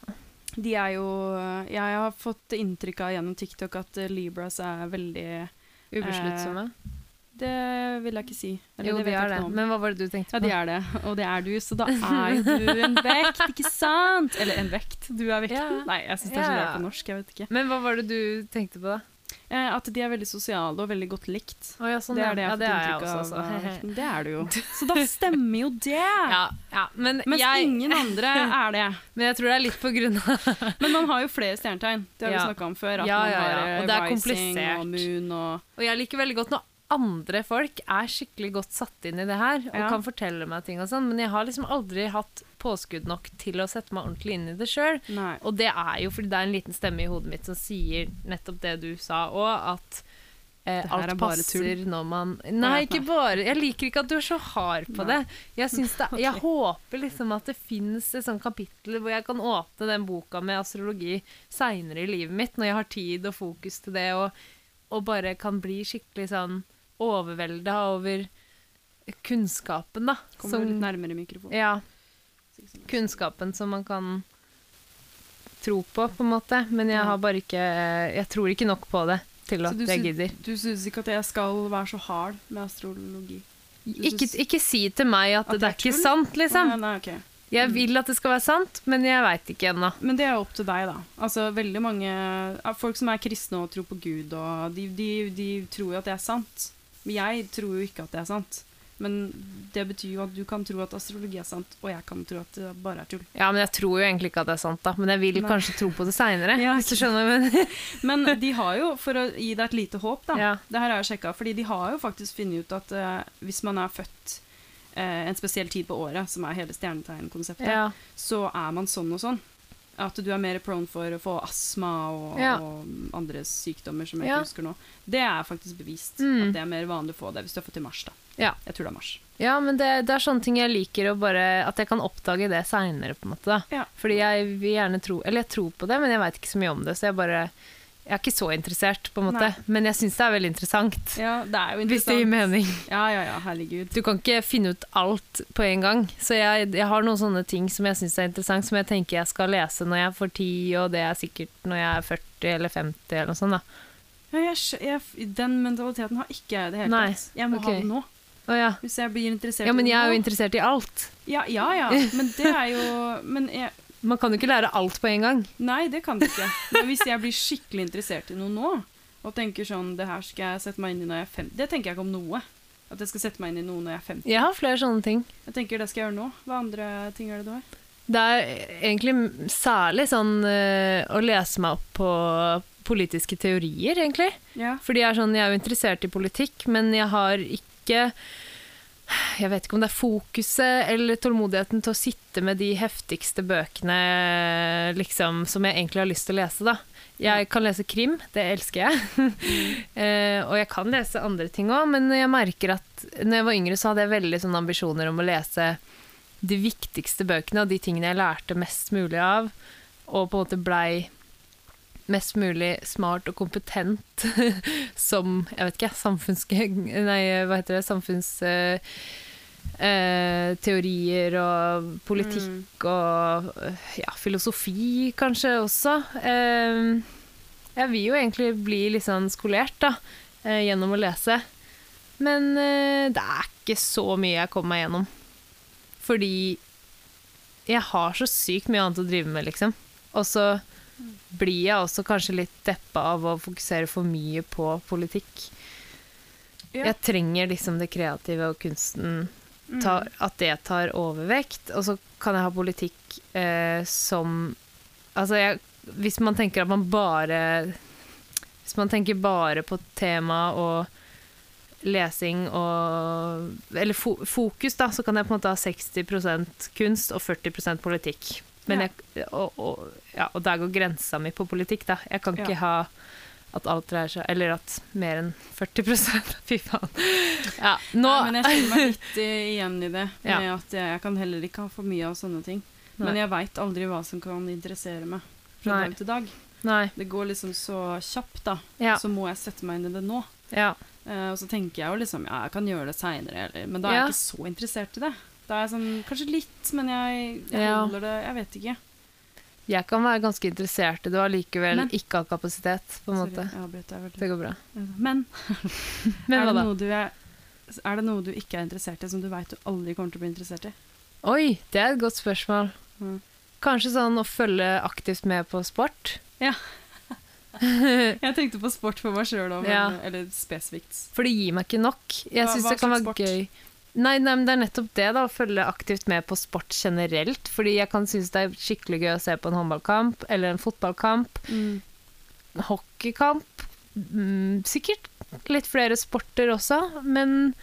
S1: De er jo eh, Jeg har fått inntrykk av gjennom TikTok at eh, Libras er veldig
S2: Ubesluttsomme.
S1: Det vil jeg ikke si. Eller
S2: Eh, jo,
S1: det
S2: de
S1: vet jeg
S2: er
S1: ikke
S2: det.
S1: noe om.
S2: Men hva var det du tenkte
S1: Ja,
S2: på?
S1: de er det. Og det er du, så da er jo du en vekt, ikke sant? Eller en vekt. Du er vekten.
S2: Ja.
S1: Nei, jeg syns det er så
S2: Ja.
S1: rart på norsk. Jeg vet ikke.
S2: Men hva var det du tenkte på, da?
S1: Eh, at de er veldig sosiale og veldig godt likt.
S2: Å, ja, sånn,
S1: det er det jeg
S2: ja,
S1: har fått inntrykk
S2: jeg
S1: av. av
S2: også, altså.
S1: vekten. Det er du jo. Så da stemmer jo det!
S2: ja, ja, men,
S1: Mens
S2: jeg,
S1: ingen andre er det.
S2: men jeg tror det er litt på grunn av
S1: Men man har jo flere stjernetegn. Det har vi
S2: Ja.
S1: snakka om før. At
S2: Ja,
S1: man
S2: ja,
S1: har
S2: ja.
S1: eh,
S2: Og det er
S1: rising og
S2: komplisert.
S1: moon og
S2: Og jeg liker veldig godt når andre folk er skikkelig godt satt inn i det her og
S1: Ja.
S2: kan fortelle meg ting og sånn, men jeg har liksom aldri hatt påskudd nok til å sette meg ordentlig inn i det sjøl.
S1: Nei.
S2: Og det er jo fordi det er en liten stemme i hodet mitt som sier nettopp det du sa òg, at eh,
S1: Det her er
S2: alt
S1: bare
S2: passer når man Nei, ikke bare. Jeg liker ikke at du er så hard på
S1: Nei.
S2: det. Jeg, syns det. jeg håper liksom at det fins et sånt kapittel hvor jeg kan åpne den boka med astrologi seinere i livet mitt, når jeg har tid og fokus til det, og, og bare kan bli skikkelig sånn overvelda over kunnskapen, da.
S1: Kommer du litt nærmere mikrofonen.
S2: Ja.
S1: sånn.
S2: Kunnskapen som man kan tro på, på en måte. Men jeg har bare ikke Jeg tror ikke nok på det til
S1: Så
S2: at
S1: du
S2: jeg
S1: sy-
S2: gidder.
S1: Du syns ikke at jeg skal være så hard med astrologi? du
S2: Ikke,
S1: syns-
S2: ikke si til meg at,
S1: At
S2: det
S1: det
S2: er
S1: er
S2: ikke
S1: tull?
S2: sant, liksom.
S1: Å, ja, nei, ok.
S2: Jeg vil at det skal være sant, men jeg veit ikke ennå.
S1: Men det er jo opp til deg, da. Altså, veldig mange ja, Folk som er kristne og tror på Gud, og de, de, de tror jo at det er sant. Men jeg tror jo ikke at det er sant. Men det betyr jo at du kan tro at astrologi er sant, og jeg kan tro at det bare er tull.
S2: Ja, men jeg tror jo egentlig ikke at det er sant, da. Men jeg vil
S1: Nei.
S2: kanskje tro på det seinere.
S1: Ja,
S2: hvis du skjønner. Men,
S1: Men de har jo, for å gi deg et lite håp, da
S2: ja.
S1: Det her har jeg sjekka, fordi de har jo faktisk funnet ut at eh, hvis man er født eh, en spesiell tid på året, som er hele stjernetegnkonseptet,
S2: Ja.
S1: så er man sånn og sånn. At du er mer prone for å få astma og,
S2: Ja.
S1: og andre sykdommer som jeg
S2: Ja.
S1: ikke husker nå. Det er faktisk bevist.
S2: Mm.
S1: At det er mer vanlig å få det hvis du er født i mars. da.
S2: Ja.
S1: Jeg tror det er mars.
S2: ja, men det, det er sånne ting jeg liker å bare At jeg kan oppdage det seinere, på en måte. da.
S1: Ja.
S2: Fordi jeg vil gjerne tro Eller jeg tror på det, men jeg veit ikke så mye om det, så jeg bare Jeg er ikke så interessert, på en måte,
S1: Nei.
S2: men jeg syns det er veldig interessant.
S1: Ja, det er jo
S2: Hvis det gir
S1: interessant.
S2: mening.
S1: Ja, ja, ja, herregud.
S2: Du kan ikke finne ut alt på en gang. Så jeg, jeg har noen sånne ting som jeg syns er interessant, som jeg tenker jeg skal lese når jeg får 10, og det er sikkert når jeg er 40 eller 50 eller noe sånt. da.
S1: Ja, jeg, skj- jeg, den mentaliteten har ikke jeg i det hele
S2: Nei,
S1: tatt. Jeg må
S2: ok.
S1: ha det nå.
S2: Å ja.
S1: Hvis jeg blir interessert
S2: ja, men
S1: i
S2: jeg er jo
S1: noe.
S2: interessert i alt.
S1: Ja, ja, ja. Men det er jo men jeg,
S2: Man kan jo ikke lære alt på en gang.
S1: Nei, det kan du ikke. Men hvis jeg blir skikkelig interessert i noe nå, og tenker sånn Det her skal jeg sette meg inn i når jeg er 50 Det tenker jeg ikke om noe. At jeg skal sette meg inn i noe når jeg er 50.
S2: Jeg har flere sånne ting.
S1: Jeg tenker det skal jeg gjøre nå. Hva andre ting er det du har?
S2: Det er egentlig m- særlig sånn eh, å lese meg opp på politiske teorier, egentlig.
S1: Ja.
S2: Fordi jeg er, sånn, jeg er jo interessert i politikk, men jeg har ikke Jeg vet ikke om det er fokuset eller tålmodigheten til å sitte med de heftigste bøkene liksom, som jeg egentlig har lyst til å lese. Da. Jeg kan lese krim, det elsker jeg. Eh, og jeg kan lese andre ting òg, men jeg merker at når jeg var yngre, så hadde jeg veldig sånne ambisjoner om å lese de viktigste bøkene og de tingene jeg lærte mest mulig av, og på en måte blei mest mulig smart og kompetent som jeg vet ikke, samfunns... Nei, hva heter det? Samfunnsteorier eh, teorier og politikk og eh, ja, filosofi kanskje også. Eh, jeg vil jo egentlig bli litt sånn skolert da, eh, gjennom å lese. Men eh, det er ikke så mye jeg kommer meg gjennom. Fordi jeg har så sykt mye annet å drive med, liksom. Og så blir jeg også kanskje litt deppa av å fokusere for mye på politikk.
S1: Ja. Mm.
S2: Jeg trenger liksom det kreative og kunsten tar, At det tar overvekt. Og så kan jeg ha politikk eh, som Altså, jeg, hvis man tenker at man bare Hvis man tenker bare på tema og lesing og Eller fo fokus, da, så kan jeg på en måte ha 60 kunst og 40 politikk. Men
S1: Ja.
S2: jeg, og, og, ja, og der går grensa mi på politikk, da. Jeg kan ikke
S1: Ja.
S2: ha at alt dreier seg Eller at mer enn 40 Fy faen. Ja, nå
S1: Nei, men jeg kjenner meg litt eh, igjen i det.
S2: Ja.
S1: Med at jeg, jeg kan heller ikke ha for mye av sånne ting. Men jeg veit aldri hva som kan interessere meg fra
S2: Nei.
S1: dag til dag.
S2: Nei.
S1: Det går liksom så kjapt, da.
S2: Ja.
S1: Så må jeg sette meg inn i det nå.
S2: Ja.
S1: Eh, og så tenker jeg jo liksom ja, jeg kan gjøre det seinere, eller Men da er
S2: Ja.
S1: jeg ikke så interessert i det. Da er jeg sånn Kanskje litt, men jeg, jeg
S2: Ja.
S1: holder det Jeg vet ikke.
S2: Jeg kan være ganske interessert i det og allikevel
S1: Men-
S2: ikke ha kapasitet, på en måte.
S1: Sorry, jeg avbrøt deg
S2: Det
S1: veldig. Eh,
S2: går bra.
S1: Men,
S2: Men
S1: er,
S2: hva
S1: det
S2: da?
S1: noe du er, er det noe du ikke er interessert i, som du veit du aldri kommer til å bli interessert i?
S2: Oi, det er et godt spørsmål.
S1: Mm.
S2: Kanskje sånn å følge aktivt med på sport.
S1: Jeg tenkte på sport for meg sjøl òg,
S2: Eh. Ja.
S1: eller spesifikt.
S2: For det gir meg ikke nok. Jeg
S1: Hva-
S2: syns
S1: hva
S2: det kan
S1: slags
S2: være
S1: sport?
S2: gøy. Nei, nei, men Det er nettopp det, da, å følge aktivt med på sport generelt. Fordi jeg kan synes det er skikkelig gøy å se på en håndballkamp eller en fotballkamp. hockeykamp. Mm, sikkert litt flere sporter også, men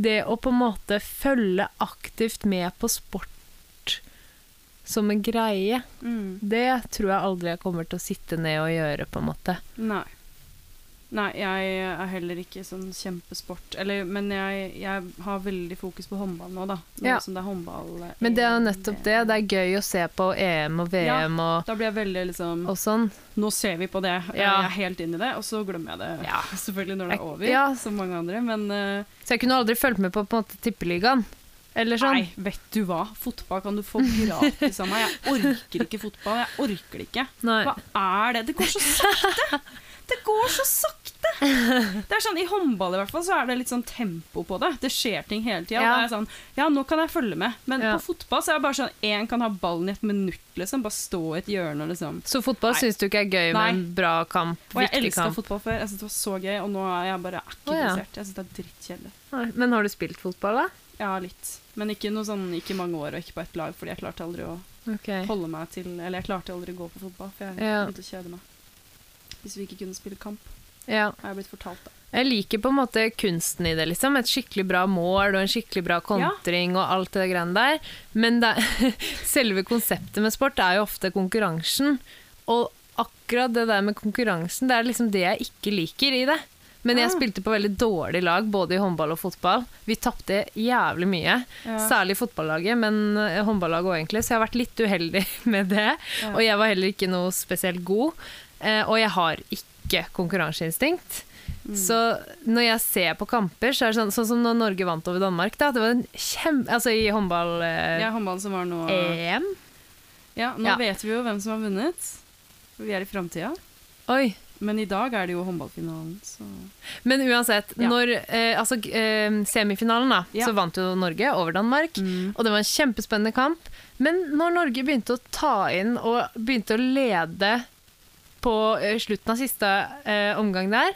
S2: det å på en måte følge aktivt med på sport som en greie,
S1: Mm.
S2: det tror jeg aldri jeg kommer til å sitte ned og gjøre, på en måte.
S1: Nei. Nei, jeg er heller ikke sånn kjempesport. Eller, men jeg, jeg har veldig fokus på håndball nå, da. Nå
S2: Ja.
S1: som det er håndball. eh,
S2: Men det er jo
S1: EM,
S2: nettopp det. Det er gøy å se på EM og
S1: Ja.
S2: VM og,
S1: Da blir jeg veldig liksom
S2: og sånn.
S1: Nå ser vi på det. Jeg
S2: Ja.
S1: er helt inn i det. Og så glemmer jeg det
S2: Ja.
S1: selvfølgelig når det er over,
S2: Ja.
S1: som mange andre. Men eh,
S2: Så jeg kunne aldri fulgt med på, på en måte, Tippeligaen. Eller sånn.
S1: nei, vet du hva? Fotball kan du få gratis av meg. Jeg orker ikke fotball. Jeg orker det ikke.
S2: Nei.
S1: Hva er det? Det går så sakte! Det går så sakte! Det er sånn, I håndball i hvert fall så er det litt sånn tempo på det. Det skjer ting hele tida.
S2: Ja.
S1: Ja. Sånn, ja, nå kan jeg følge med. Men
S2: Ja.
S1: på fotball så er det bare sånn én kan ha ballen i et minutt, liksom. Bare stå i et hjørne, liksom.
S2: Så fotball
S1: Nei.
S2: syns du ikke er gøy med
S1: Nei.
S2: en bra kamp?
S1: Og jeg
S2: viktig
S1: elska
S2: kamp?
S1: fotball før. Jeg synes det var så gøy, og nå er jeg bare er ikke
S2: Å, ja.
S1: interessert. Jeg synes det er drittkjedelig.
S2: Nei. Men har du spilt fotball, da?
S1: Ja, litt. Men ikke noe sånn, ikke mange år og ikke på ett lag, fordi jeg klarte aldri å
S2: Okay.
S1: holde meg til Eller jeg klarte aldri å gå på fotball, for jeg
S2: Ja.
S1: begynte å kjede meg. Hvis vi ikke kunne spille kamp,
S2: Ja.
S1: har jeg blitt fortalt, da.
S2: Jeg liker på en måte kunsten i det, liksom. Et skikkelig bra mål og en skikkelig bra kontring og alt det greiene der. Men det, selve konseptet med sport er jo ofte konkurransen. Og akkurat det der med konkurransen, det er liksom det jeg ikke liker i det. Men jeg
S1: Ah.
S2: spilte på veldig dårlig lag, både i håndball og fotball. Vi tapte jævlig mye.
S1: Ja.
S2: Særlig fotballaget, men eh, håndballaget òg, egentlig. Så jeg har vært litt uheldig med det.
S1: Ja.
S2: Og jeg var heller ikke noe spesielt god. Eh, og jeg har ikke konkurranseinstinkt.
S1: Mm.
S2: Så når jeg ser på kamper, så er det sånn, sånn som når Norge vant over Danmark. Da, det var en kjem, altså I
S1: Det
S2: eh,
S1: er
S2: håndball-EM.
S1: håndballen som var nå Ja, nå
S2: Eh, Ja.
S1: vet vi jo hvem som har vunnet. Vi er i framtida.
S2: Oi.
S1: Men i dag er det jo håndballfinalen, så
S2: Men uansett,
S1: Ja.
S2: når, eh, altså, g- eh, semifinalen da,
S1: Ja. Mm.
S2: så vant jo Norge over Danmark. Og det var en kjempespennende kamp. Men når Norge begynte å ta inn og begynte å lede på eh, slutten av siste eh, omgang der,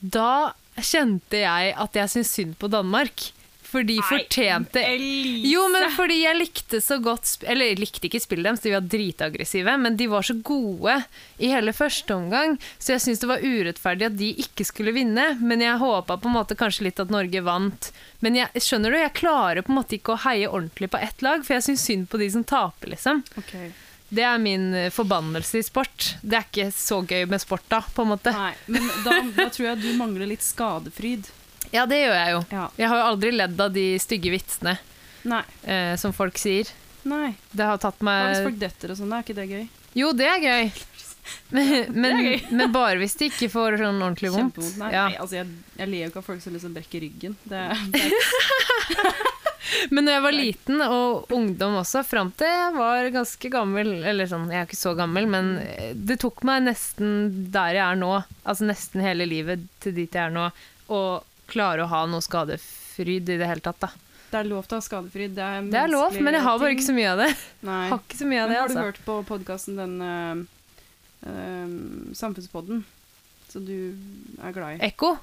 S2: da kjente jeg at jeg syntes synd på Danmark. For de fortjente
S1: Elise!
S2: Jo, men fordi jeg likte så godt sp- Eller jeg likte ikke spillet deres, de var dritaggressive, men de var så gode i hele første omgang, så jeg syns det var urettferdig at de ikke skulle vinne. Men jeg håpa på en måte kanskje litt at Norge vant. Men jeg, skjønner du, jeg klarer på en måte ikke å heie ordentlig på ett lag, for jeg syns synd på de som taper, liksom.
S1: Ok.
S2: Det er min eh, forbannelse i sport. Det er ikke så gøy med sport da, på en måte.
S1: Nei, men da, da tror jeg du mangler litt skadefryd.
S2: Ja, det gjør jeg jo.
S1: Ja.
S2: Jeg har jo aldri ledd av de stygge vitsene
S1: Nei.
S2: eh, som folk sier.
S1: Nei.
S2: Det har tatt
S1: Hva hvis
S2: meg
S1: folk detter og sånn, da er ikke det gøy?
S2: Jo, det er gøy. Men, men,
S1: gøy.
S2: men bare hvis de ikke får sånn ordentlig vondt.
S1: Kjempevondt. Nei,
S2: Ja.
S1: nei altså, jeg, jeg ler jo ikke av folk som liksom brekker ryggen. Det, det er
S2: Men når jeg var liten, og ungdom også, fram til jeg var ganske gammel Eller sånn, jeg er ikke så gammel, men eh, det tok meg nesten der jeg er nå, altså nesten hele livet til dit jeg er nå, å klare å ha noe skadefryd i det hele tatt, da.
S1: Det er lov til å ha skadefryd. Det er,
S2: Det er lov, men jeg har bare ikke så mye av det.
S1: Nei.
S2: Jeg har ikke så mye av
S1: men
S2: det,
S1: har du
S2: altså.
S1: hørt på podkasten den eh, eh, Samfunnspodden? Som du er glad i.
S2: Ekko?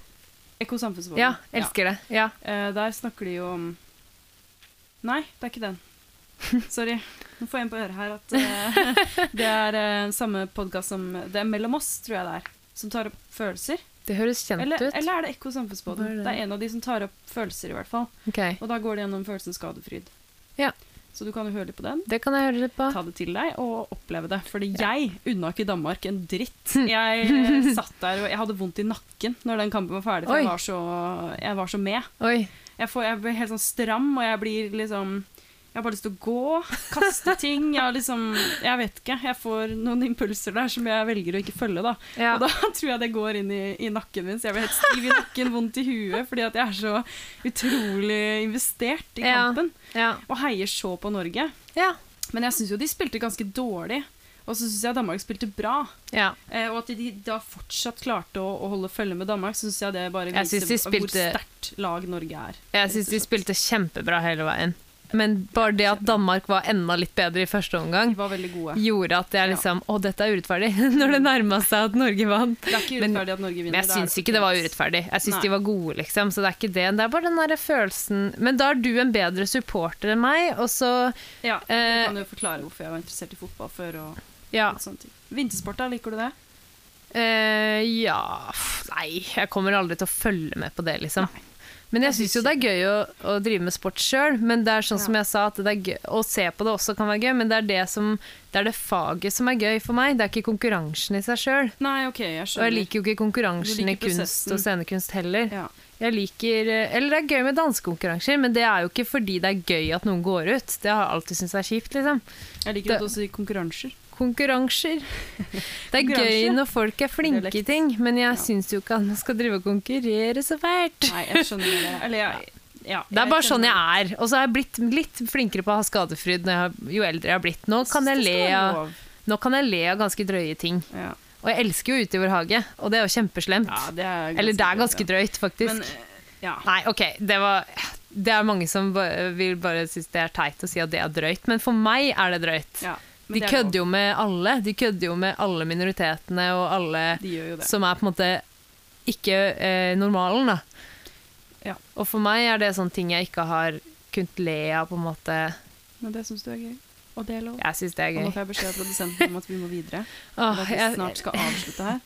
S1: Ekko Samfunnspodden.
S2: Ja, elsker det. Ja.
S1: Eh, der snakker de jo om Nei, det er ikke den. Sorry. Nå får jeg en på øret her at eh, det er eh, samme podkast som Det er Mellom oss, tror jeg det er. Som tar opp følelser.
S2: Det høres kjent
S1: Eller,
S2: ut.
S1: eller er det Ekko Samfunnspodden?
S2: Hva er det?
S1: det er en av de som tar opp følelser, i hvert fall.
S2: Ok,
S1: Og da går det gjennom følelsen skadefryd.
S2: Ja.
S1: Så du kan jo høre litt på den.
S2: det kan jeg høre litt på.
S1: Ta det til deg og oppleve det. Fordi jeg unna ikke Danmark en dritt.
S2: Hm.
S1: Jeg eh, satt der og jeg hadde vondt i nakken når den kampen var ferdig, for
S2: Oi.
S1: jeg var, så, jeg var så med.
S2: Oi.
S1: Jeg, får, jeg blir helt sånn stram, og jeg blir liksom Jeg har bare lyst til å gå, kaste ting. Jeg, har liksom, jeg vet ikke. Jeg får noen impulser der som jeg velger å ikke følge, da.
S2: Ja.
S1: Og da tror jeg det går inn i, i nakken min, så jeg blir helt stiv i nakken, vondt i huet, fordi at jeg er så utrolig investert i
S2: Ja.
S1: kampen.
S2: Ja.
S1: Og heier så på Norge.
S2: Ja.
S1: Men jeg syns jo de spilte ganske dårlig. Og så syns jeg Danmark spilte bra.
S2: ja.
S1: Eh, og at de da fortsatt klarte å, å holde følge med Danmark, syns jeg det bare
S2: Jeg
S1: viser
S2: synes de spilte-
S1: hvor sterkt lag Norge er.
S2: Jeg syns de spilte kjempebra hele veien. Men bare det at Danmark var enda litt bedre i første omgang,
S1: De var veldig gode.
S2: gjorde at jeg liksom Å, dette er urettferdig! Når det nærma seg at Norge vant.
S1: Det er ikke
S2: Men-
S1: urettferdig at Norge vinner.
S2: Men jeg syns ikke det var urettferdig. Jeg syns
S1: Nei.
S2: de var gode, liksom. Så det er ikke det. Det er bare den derre følelsen Men da er du en bedre supporter enn meg, og så
S1: Ja, jeg
S2: eh,
S1: kan jo forklare hvorfor jeg var interessert i fotball før. og
S2: Ja.
S1: litt sånne ting. Vintersport, da? Liker du det?
S2: Eh, ja pff, Nei, jeg kommer aldri til å følge med på det, liksom. Men jeg
S1: Jeg
S2: syns jo det er gøy å, å drive med sport sjøl, men det er sånn
S1: Ja.
S2: som jeg sa, at det er gøy, å se på det også kan være gøy, men det er det, som, det er det faget som er gøy for meg. Det er ikke konkurransen i seg sjøl.
S1: Nei, OK, jeg
S2: Og jeg
S1: skjønner.
S2: liker jo ikke
S1: Du
S2: konkurransen i
S1: liker
S2: kunst
S1: prosessen.
S2: og scenekunst heller.
S1: ja.
S2: Jeg liker, eh, Eller det er gøy med dansekonkurranser, men det er jo ikke fordi det er gøy at noen går ut. Det har jeg alltid syntes er kjipt, liksom.
S1: jeg liker
S2: Det-
S1: godt også i konkurranser.
S2: Konkurranser. Det er
S1: Konkurranse.
S2: gøy når folk er flinke i
S1: Dialekt.
S2: ting, men jeg syns jo ikke at man skal drive og konkurrere så fælt.
S1: Nei, jeg skjønner det. Eller jeg ja,
S2: Det er bare sånn
S1: skjønner-
S2: jeg er. Og så har jeg blitt litt flinkere på å ha skadefryd når jeg, har- jo eldre jeg har blitt. Nå kan, jeg
S1: synes det
S2: le
S1: skal være
S2: av,
S1: lov.
S2: nå kan jeg le av ganske drøye ting.
S1: Ja.
S2: Og jeg elsker jo Ute i vår hage, og det er jo kjempeslemt.
S1: Ja, det er ganske
S2: Eller det er ganske
S1: drøyt,
S2: drøyt,
S1: ja.
S2: faktisk.
S1: Men, eh, ja.
S2: Nei, OK, det var Det er mange som ba- vil bare synes det er teit å si at det er drøyt, men for meg er det drøyt.
S1: ja.
S2: De kødder jo med alle. De kødder jo med alle minoritetene og alle
S1: De gjør jo det.
S2: som er på en måte ikke eh, normalen, da.
S1: Ja.
S2: Og for meg er det sånne ting jeg ikke har kunnet le av, på en måte.
S1: Men det syns du er gøy. Og det er lov.
S2: Jeg syns det er
S1: Og nå
S2: gøy.
S1: får jeg beskjed av produsenten om at vi må videre. Og
S2: Åh,
S1: at vi
S2: jeg-
S1: snart skal avslutte her.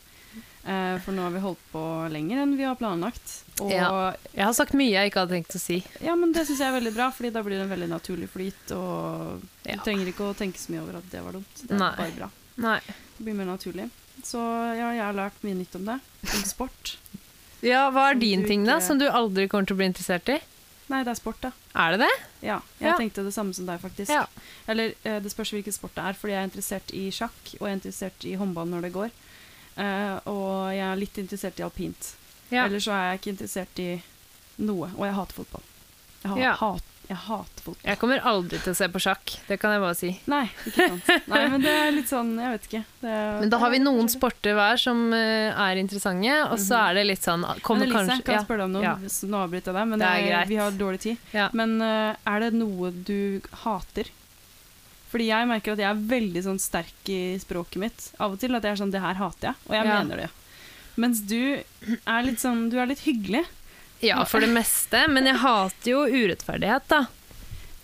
S1: Eh, For nå har vi holdt på lenger enn vi har planlagt. Og
S2: Ja.
S1: ja,
S2: jeg har sagt mye jeg ikke hadde tenkt å si.
S1: men det syns jeg er veldig bra, Fordi da blir det en veldig naturlig flyt. Og
S2: Ja.
S1: du trenger ikke å tenke så mye over at det var dumt. Det er
S2: Nei.
S1: bare bra.
S2: Nei.
S1: Det blir mer naturlig. Så ja, jeg har lært mye nytt om det. Om sport.
S2: Ja, hva er
S1: Som
S2: din
S1: du
S2: ting, da,
S1: ikke-
S2: som du aldri kommer til å bli interessert i?
S1: Nei, det er sport, da.
S2: Er det det?
S1: Ja, jeg
S2: Ja.
S1: tenkte det samme som deg, faktisk.
S2: Ja.
S1: Eller eh, det spørs hvilken sport det er, fordi jeg er interessert i sjakk, og jeg er interessert i håndball når det går. Eh, og jeg er litt interessert i alpint.
S2: Ja.
S1: Ellers så er jeg ikke interessert i noe. Og jeg hater fotball. Jeg, ha,
S2: Ja.
S1: hat, jeg hater fotball.
S2: Jeg kommer aldri til å se på sjakk, det kan jeg bare si.
S1: Nei, ikke sant. Nei, men det er litt sånn Jeg vet ikke. Det er-
S2: Men da har vi noen sporter hver som eh, er interessante, og så er det litt sånn
S1: Men
S2: kommer
S1: Elise,
S2: kanskje,
S1: kan jeg
S2: ja,
S1: spørre deg om noe?
S2: ja.
S1: Hvis- Nå avbryter jeg deg, men
S2: Det er
S1: jeg-
S2: greit.
S1: vi har dårlig tid.
S2: ja.
S1: Men eh, er det noe du hater? Fordi jeg merker at jeg er veldig sånn sterk i språket mitt av og til. At jeg er sånn 'det her hater jeg', og jeg
S2: Ja.
S1: mener det. Mens du er litt sånn Du er litt hyggelig.
S2: ja, for det meste. Men jeg hater jo urettferdighet, da.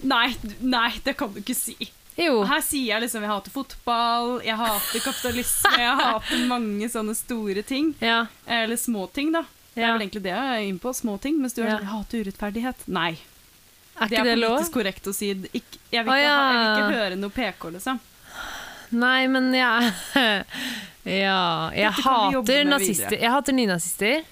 S1: Nei, du- nei, det kan du ikke si.
S2: Jo.
S1: Her sier jeg liksom jeg hater fotball, jeg hater kapitalisme, jeg hater mange sånne store ting.
S2: Ja.
S1: Eller små ting, da. Det er
S2: Ja.
S1: vel egentlig det jeg er inne på. Små ting. Mens du er
S2: Ja.
S1: sånn 'jeg hater urettferdighet'. Nei.
S2: Er
S1: Det
S2: ikke
S1: er
S2: det lov?
S1: politisk korrekt å si. Ikk- Jeg vil
S2: Å,
S1: ikke, ha, jeg vil
S2: ja.
S1: ikke høre noe PK, liksom.
S2: Nei, men jeg Ja. Jeg
S1: Dette kan vi jobbe
S2: hater
S1: med
S2: nazister.
S1: videre.
S2: Jeg hater nynazister.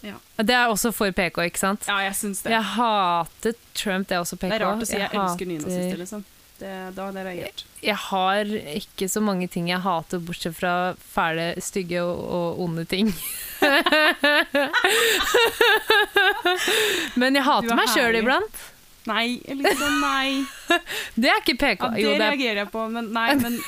S1: Ja.
S2: Det er også for PK, ikke sant?
S1: Ja, jeg syns det.
S2: Jeg hater Trump, det er også PK.
S1: Det er rart å si 'jeg elsker nynazister',
S2: hater-
S1: liksom. Det, da hadde jeg reagert.
S2: Jeg har ikke så mange ting jeg hater, bortsett fra fæle, stygge og, og onde ting. Men
S1: Du er
S2: jeg hater meg sjøl
S1: herlig.
S2: iblant.
S1: Nei, liksom, nei.
S2: Det er ikke PK.
S1: Ja, det
S2: Jo, det er
S1: reagerer jeg på, men nei, men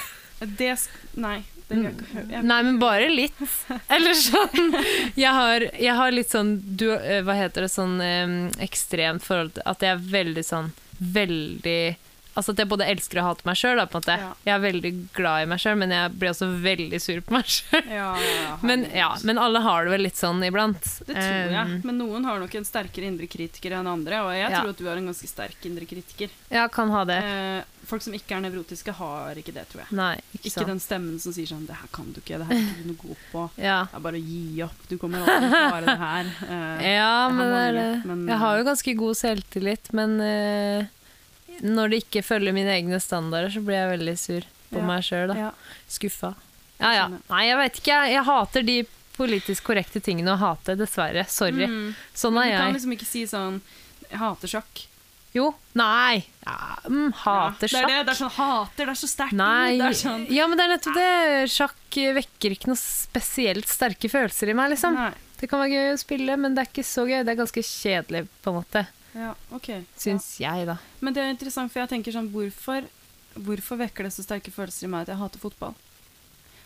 S1: det sk- Nei. Det vil jeg ikke høre. Jeg-
S2: Nei, men bare litt. Eller sånn Jeg har, jeg har litt sånn du, eh, Hva heter det? Sånn eh, ekstremt forhold til At jeg er veldig sånn Veldig Altså at jeg både elsker og hater meg sjøl, da, på en måte.
S1: Ja.
S2: Jeg er veldig glad i meg sjøl, men jeg blir også veldig sur på meg sjøl.
S1: Ja, ja, um,
S2: Men,
S1: herregud.
S2: ja, men alle har det vel litt sånn iblant.
S1: Det tror jeg.
S2: Eh,
S1: Men noen har nok en sterkere indre kritiker enn andre, og jeg
S2: Ja.
S1: tror at du er en ganske sterk indre kritiker.
S2: ja, kan ha det.
S1: Eh, folk som ikke er nevrotiske, har ikke det, tror jeg.
S2: Nei, ikke,
S1: Ikke
S2: sant.
S1: den stemmen som sier sånn 'det her kan du ikke, det her er ikke du noe god på'.
S2: Ja.
S1: Det er bare å gi opp. Du kommer aldri til å klare det her. Eh, Jeg
S2: Ja,
S1: har
S2: men, det er
S1: mange,
S2: det.
S1: men-
S2: jeg har jo ganske god selvtillit, men eh, når det ikke følger mine egne standarder, så blir jeg veldig sur på
S1: Ja.
S2: meg sjøl.
S1: ja.
S2: Skuffa. Ja, ja.
S1: skjønner.
S2: Nei, jeg vet ikke. Jeg, jeg hater de politisk korrekte tingene å hate, dessverre. Sorry.
S1: Mm.
S2: Sånn
S1: Men
S2: er
S1: du kan
S2: jeg.
S1: liksom ikke si sånn 'jeg hater sjakk'.
S2: Jo. Nei. Ja, mm, hater
S1: Ja, det, er
S2: sjakk.
S1: det, det er sånn 'hater', det er så sterkt.
S2: Nei.
S1: Det er sånn,
S2: Ja, men det er nettopp det. Sjakk vekker ikke noe spesielt sterke følelser i meg, liksom.
S1: Nei.
S2: Det kan være gøy å spille, men det er ikke så gøy. Det er ganske kjedelig, på en måte.
S1: Ja, ok.
S2: Syns jeg, da.
S1: Ja. Men det er interessant, for jeg tenker sånn hvorfor, hvorfor vekker det så sterke følelser i meg at jeg hater fotball?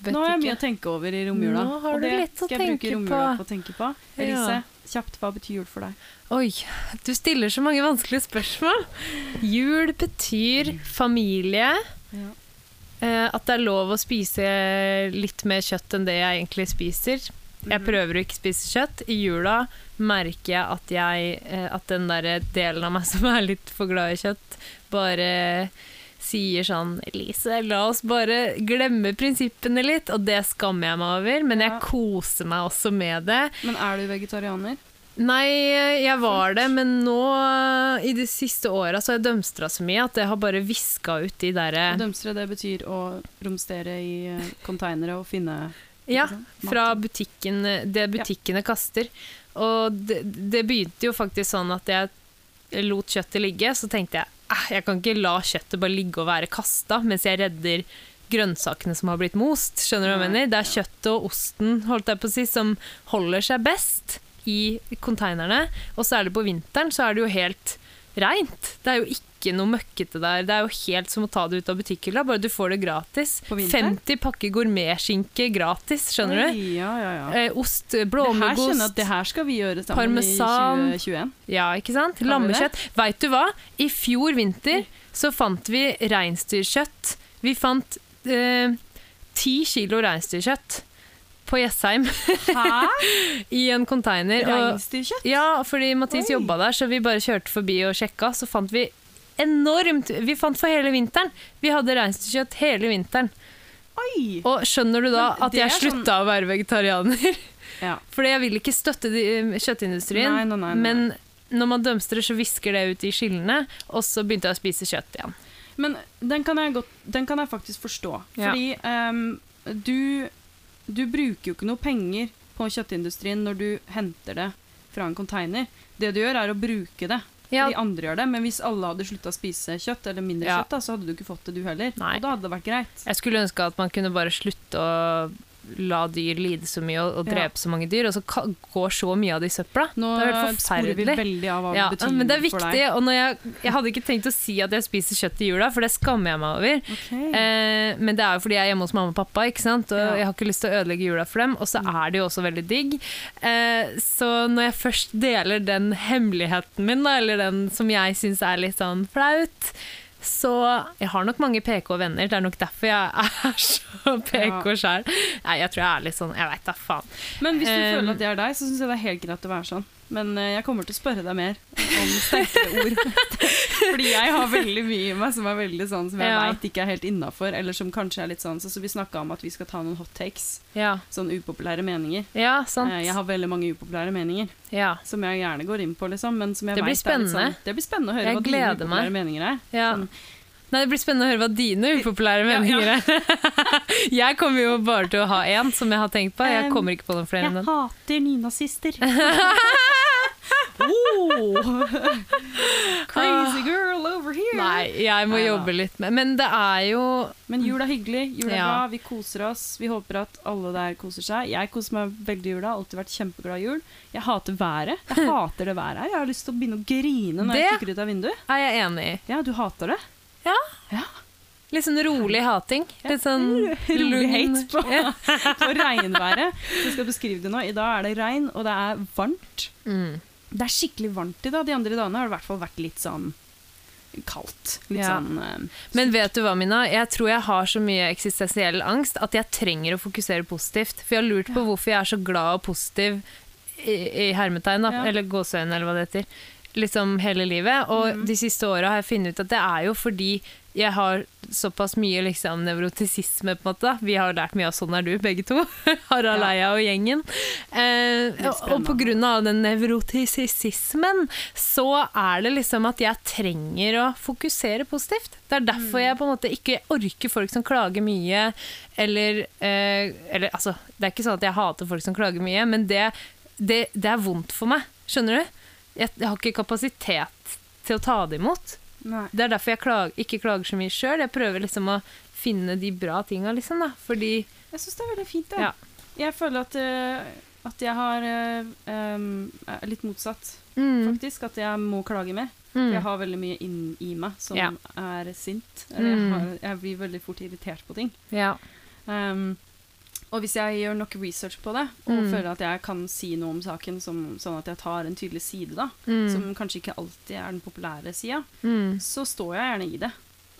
S2: Vet
S1: Nå har jeg
S2: ikke.
S1: mye å tenke over i romjula.
S2: Nå har
S1: og
S2: du
S1: det
S2: litt å
S1: skal jeg bruke
S2: tenke
S1: romjula
S2: på.
S1: på å tenke på.
S2: Ja.
S1: Elise, kjapt, hva betyr jul for deg?
S2: Oi, du stiller så mange vanskelige spørsmål. Jul betyr familie.
S1: Ja.
S2: eh, At det er lov å spise litt mer kjøtt enn det jeg egentlig spiser. Jeg
S1: Mm.
S2: prøver å ikke spise kjøtt. I jula merker jeg at, jeg, eh, at den der delen av meg som er litt for glad i kjøtt, bare sier sånn Elise, la oss bare glemme prinsippene litt. Og det skammer jeg meg over, men
S1: Ja.
S2: jeg koser meg også med det.
S1: Men er du vegetarianer?
S2: Nei, jeg var det, men nå eh, i de siste åra så har jeg dømstra så mye at jeg har bare viska ut de derre
S1: Og Dømstre, det betyr å romstere i eh, konteinere og finne
S2: Ja,
S1: ikke sant? Mat.
S2: fra butikken, eh, det butikkene kaster. Og det, det begynte jo faktisk sånn at jeg lot kjøttet ligge, så tenkte jeg "Eh, jeg kan ikke la kjøttet bare ligge og være kasta mens jeg redder grønnsakene som har blitt most. Skjønner du hva jeg
S1: Nei,
S2: mener? Det er kjøttet og osten holdt jeg på å si, som holder seg best i konteinerne. Og så er det på vinteren, så er det jo helt reint. Det er jo ikke noe møkkete der. Det er jo helt som å ta det ut av butikkhylla, bare du får det gratis.
S1: På vinteren?
S2: 50 pakker gourmetskinke gratis, skjønner du?
S1: Oi, Ja, ja, ja.
S2: Eh, ost,
S1: Det her skjønner jeg at
S2: blåmuggost
S1: det her skal vi gjøre sammen
S2: Parmesan.
S1: i 2021.
S2: Ja, ikke sant?
S1: vi det? Mm.
S2: Lammekjøtt. Veit du hva? I fjor vinter så fant vi reinsdyrkjøtt. Vi fant eh, ti kilo reinsdyrkjøtt på Jessheim
S1: Hæ?
S2: i en container. og-
S1: Reinsdyrkjøtt?
S2: Ja, fordi Mathis
S1: Oi.
S2: jobba der, så vi bare kjørte forbi og sjekka. Så fant vi enormt Vi fant for hele vinteren! Vi hadde reinsdyrkjøtt hele vinteren.
S1: Oi!
S2: Og skjønner du da
S1: Men
S2: at
S1: det
S2: jeg
S1: er sånn-
S2: slutta å være vegetarianer?
S1: Ja.
S2: Fordi jeg vil ikke støtte de, kjøttindustrien,
S1: Nei, nei, nei, nei.
S2: men når man dømstrer, så visker det ut i skillene, og så begynte jeg å spise kjøtt igjen.
S1: Men den kan jeg, godt, den kan jeg faktisk forstå.
S2: Ja.
S1: Fordi ehm, du, du bruker jo ikke noe penger på kjøttindustrien når du henter det fra en container. Det du gjør, er å bruke det.
S2: Ja,
S1: De andre gjør det, men hvis alle hadde slutta å spise kjøtt, eller mindre
S2: Ja.
S1: kjøtt, da, så hadde du ikke fått det, du heller.
S2: Nei.
S1: Og da hadde det vært greit.
S2: jeg skulle ønske at man kunne bare slutte å la dyr lide så mye og, og drepe så mange dyr, og så ka- går så mye av det i søpla.
S1: Nå
S2: det er jo helt
S1: sporer vi
S2: forferdelig.
S1: veldig av hva
S2: Ja,
S1: det betyr
S2: men det er
S1: for
S2: viktig,
S1: deg.
S2: og når jeg, jeg hadde ikke tenkt å si at jeg spiser kjøtt i jula, for det skammer jeg meg over.
S1: Ok.
S2: Eh, men det er jo fordi jeg er hjemme hos mamma og pappa, ikke sant? og
S1: Ja. Mm.
S2: jeg har ikke lyst til å ødelegge jula for dem. Og så er det jo også veldig digg. Eh, så når jeg først deler den hemmeligheten min, da, eller den som jeg syns er litt sånn flaut, så jeg har nok mange PK-venner. Det er nok derfor jeg er så PK sjøl. Nei, jeg tror jeg er litt sånn Jeg veit da faen.
S1: Men hvis du
S2: Eh,
S1: føler at det er deg, så syns jeg det er helt greit å være sånn. Men eh, jeg kommer til å spørre deg mer om sterkere ord. Fordi jeg har veldig mye i meg som er veldig sånn som jeg
S2: Ja.
S1: veit ikke er helt innafor, eller som kanskje er litt sånn Så, så vi snakka om at vi skal ta noen hot takes.
S2: Ja,
S1: Sånn upopulære meninger.
S2: ja sant.
S1: Eh, Jeg har veldig mange upopulære meninger
S2: ja.
S1: som jeg gjerne går inn på, liksom. Men som jeg
S2: Det
S1: vet er
S2: blir
S1: litt
S2: spennende.
S1: Sånn, det blir spennende å høre
S2: Jeg
S1: hva dine
S2: gleder meg.
S1: upopulære meninger er.
S2: Ja.
S1: Sånn.
S2: Nei, Det blir spennende å høre hva dine upopulære
S1: Ja,
S2: meninger er. jeg kommer jo bare til å ha én som jeg har tenkt på. Jeg
S1: Um,
S2: kommer ikke på noen flere enn den.
S1: hater nynazister. oh. Crazy girl over here.
S2: Nei, jeg må
S1: Nei da.
S2: jobbe litt med Men det er jo
S1: Men jul er hyggelig. Jul er
S2: Ja.
S1: bra. Vi koser oss. Vi håper at alle der koser seg. Jeg koser meg veldig i jula. Alltid vært kjempeglad i jul. Jeg hater været. Jeg hater det været her. Jeg har lyst til å begynne å grine når jeg
S2: Det-
S1: kikker ut av vinduet.
S2: Er jeg enig i?
S1: Ja, du hater det?
S2: Ja.
S1: Ja.
S2: Litt sånn rolig hating. Litt sånn
S1: Rolig
S2: lugn.
S1: hate på, på regnværet. Så jeg skal beskrive det nå. I dag er det regn, og det er varmt.
S2: Mm.
S1: Det er skikkelig varmt i dag. De andre dagene har det i hvert fall vært litt sånn kaldt. Litt
S2: Ja.
S1: sånn eh,
S2: Men vet du hva, Mina? Jeg tror jeg har så mye eksistensiell angst at jeg trenger å fokusere positivt. For jeg har lurt på hvorfor jeg er så glad og positiv i, i hermetegn, da,
S1: Ja.
S2: eller gåseøyne, eller hva det heter, liksom hele livet. Og
S1: Mm.
S2: de siste åra har jeg funnet ut at det er jo fordi jeg har såpass mye liksom, nevrotisisme, på en måte. da. Vi har lært mye av Sånn er du, begge to. Harald Eia og gjengen. Eh,
S1: Litt
S2: og på
S1: spennende.
S2: grunn av den nevrotisismen, så er det liksom at jeg trenger å fokusere positivt. Det er derfor
S1: Mm.
S2: jeg på en måte ikke orker folk som klager mye, eller, eh, eller Altså, det er ikke sånn at jeg hater folk som klager mye, men det, det, det er vondt for meg. Skjønner du? Jeg, jeg har ikke kapasitet til å ta det imot.
S1: Nei.
S2: Det er derfor jeg klag, ikke klager så mye sjøl. Jeg prøver liksom å finne de bra tinga, liksom, da. Fordi
S1: Jeg syns det er veldig fint, det.
S2: Ja.
S1: Jeg føler at, eh, at jeg har eh, em, er litt motsatt,
S2: mm,
S1: faktisk. At jeg må klage mer. For Jeg
S2: mm,
S1: har veldig mye inn i meg som
S2: Ja.
S1: er sint. Eller jeg,
S2: Mm.
S1: har, jeg blir veldig fort irritert på ting.
S2: ja.
S1: Em, og hvis jeg gjør nok research på det, og
S2: Mm.
S1: føler at jeg kan si noe om saken som, sånn at jeg tar en tydelig side, da,
S2: Mm,
S1: som kanskje ikke alltid er den populære sida,
S2: mm,
S1: så står jeg gjerne i det.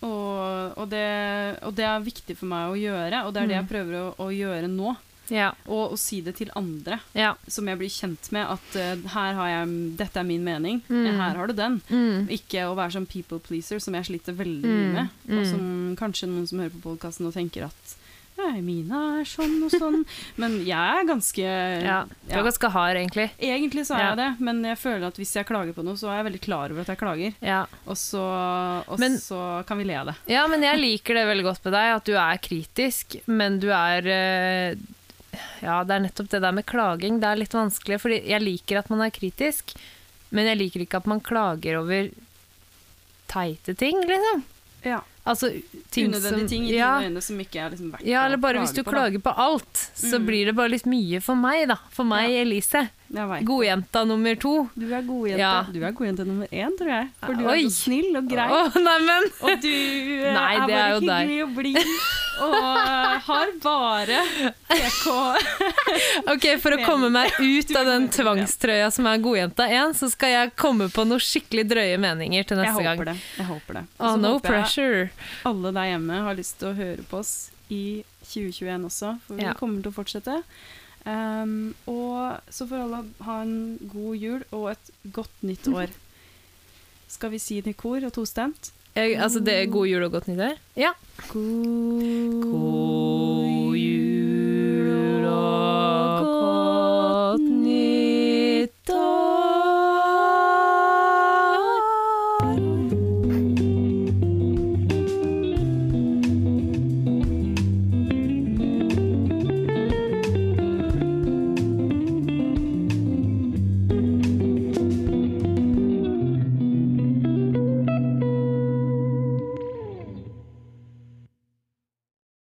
S1: Og, og, det, og det er viktig for meg å gjøre, og det er det
S2: Mm.
S1: jeg prøver å, å gjøre nå.
S2: ja.
S1: Og å si det til andre,
S2: Ja.
S1: som jeg blir kjent med. At eh, her har jeg, dette er min mening,
S2: Mm.
S1: her har du den.
S2: Mm,
S1: Ikke å være sånn people pleaser, som jeg sliter veldig mye
S2: Mm.
S1: med. Og som kanskje noen som hører på podkasten og tenker at Nei, Mina er sånn og sånn. Men jeg er ganske
S2: ja. Du er ganske hard, egentlig.
S1: Egentlig så er
S2: Ja.
S1: jeg det, men jeg føler at hvis jeg klager på noe, så er jeg veldig klar over at jeg klager.
S2: Ja.
S1: Og så, og
S2: Men-
S1: så kan vi le av det.
S2: ja, men jeg liker det veldig godt med deg, at du er kritisk, men du er eh, Ja, det er nettopp det der med klaging. Det er litt vanskelig, fordi jeg liker at man er kritisk, men jeg liker ikke at man klager over teite ting, liksom.
S1: Ja.
S2: Altså ting som
S1: Unødvendige ting i
S2: ja,
S1: dine øyne som ikke er liksom verdt
S2: ja, eller bare hvis du
S1: da.
S2: klager på alt, så
S1: Mm.
S2: blir det bare litt mye for meg, da. For meg, Elise.
S1: Jeg vet.
S2: Godjenta nummer to.
S1: Du er godjente
S2: Ja.
S1: Du er godjente nummer én, tror jeg. For du
S2: Oi.
S1: er så snill og grei.
S2: Å, nei, men
S1: Og du eh,
S2: Nei,
S1: er
S2: det
S1: bare
S2: er jo deg.
S1: hyggelig og blid. Og eh, har bare PK
S2: Ok, for å
S1: Men-
S2: komme meg ut av den
S1: Du-
S2: tvangstrøya som er godjenta 1, så skal jeg komme på noen skikkelig drøye meninger til
S1: Jeg
S2: neste gang.
S1: håper det. Jeg håper det. Og
S2: Oh,
S1: så
S2: no
S1: håper
S2: pressure.
S1: jeg alle der hjemme har lyst til å høre på oss i 2021 også, for vi
S2: Ja.
S1: kommer til å fortsette. Um, og så får alle ha en god jul og et godt nytt år. Skal vi si det i kor og tostemt?
S2: Jeg, altså, det er god jul og godt nyttår? Ja.
S1: God,
S2: God
S1: jul og godt
S2: nyttår.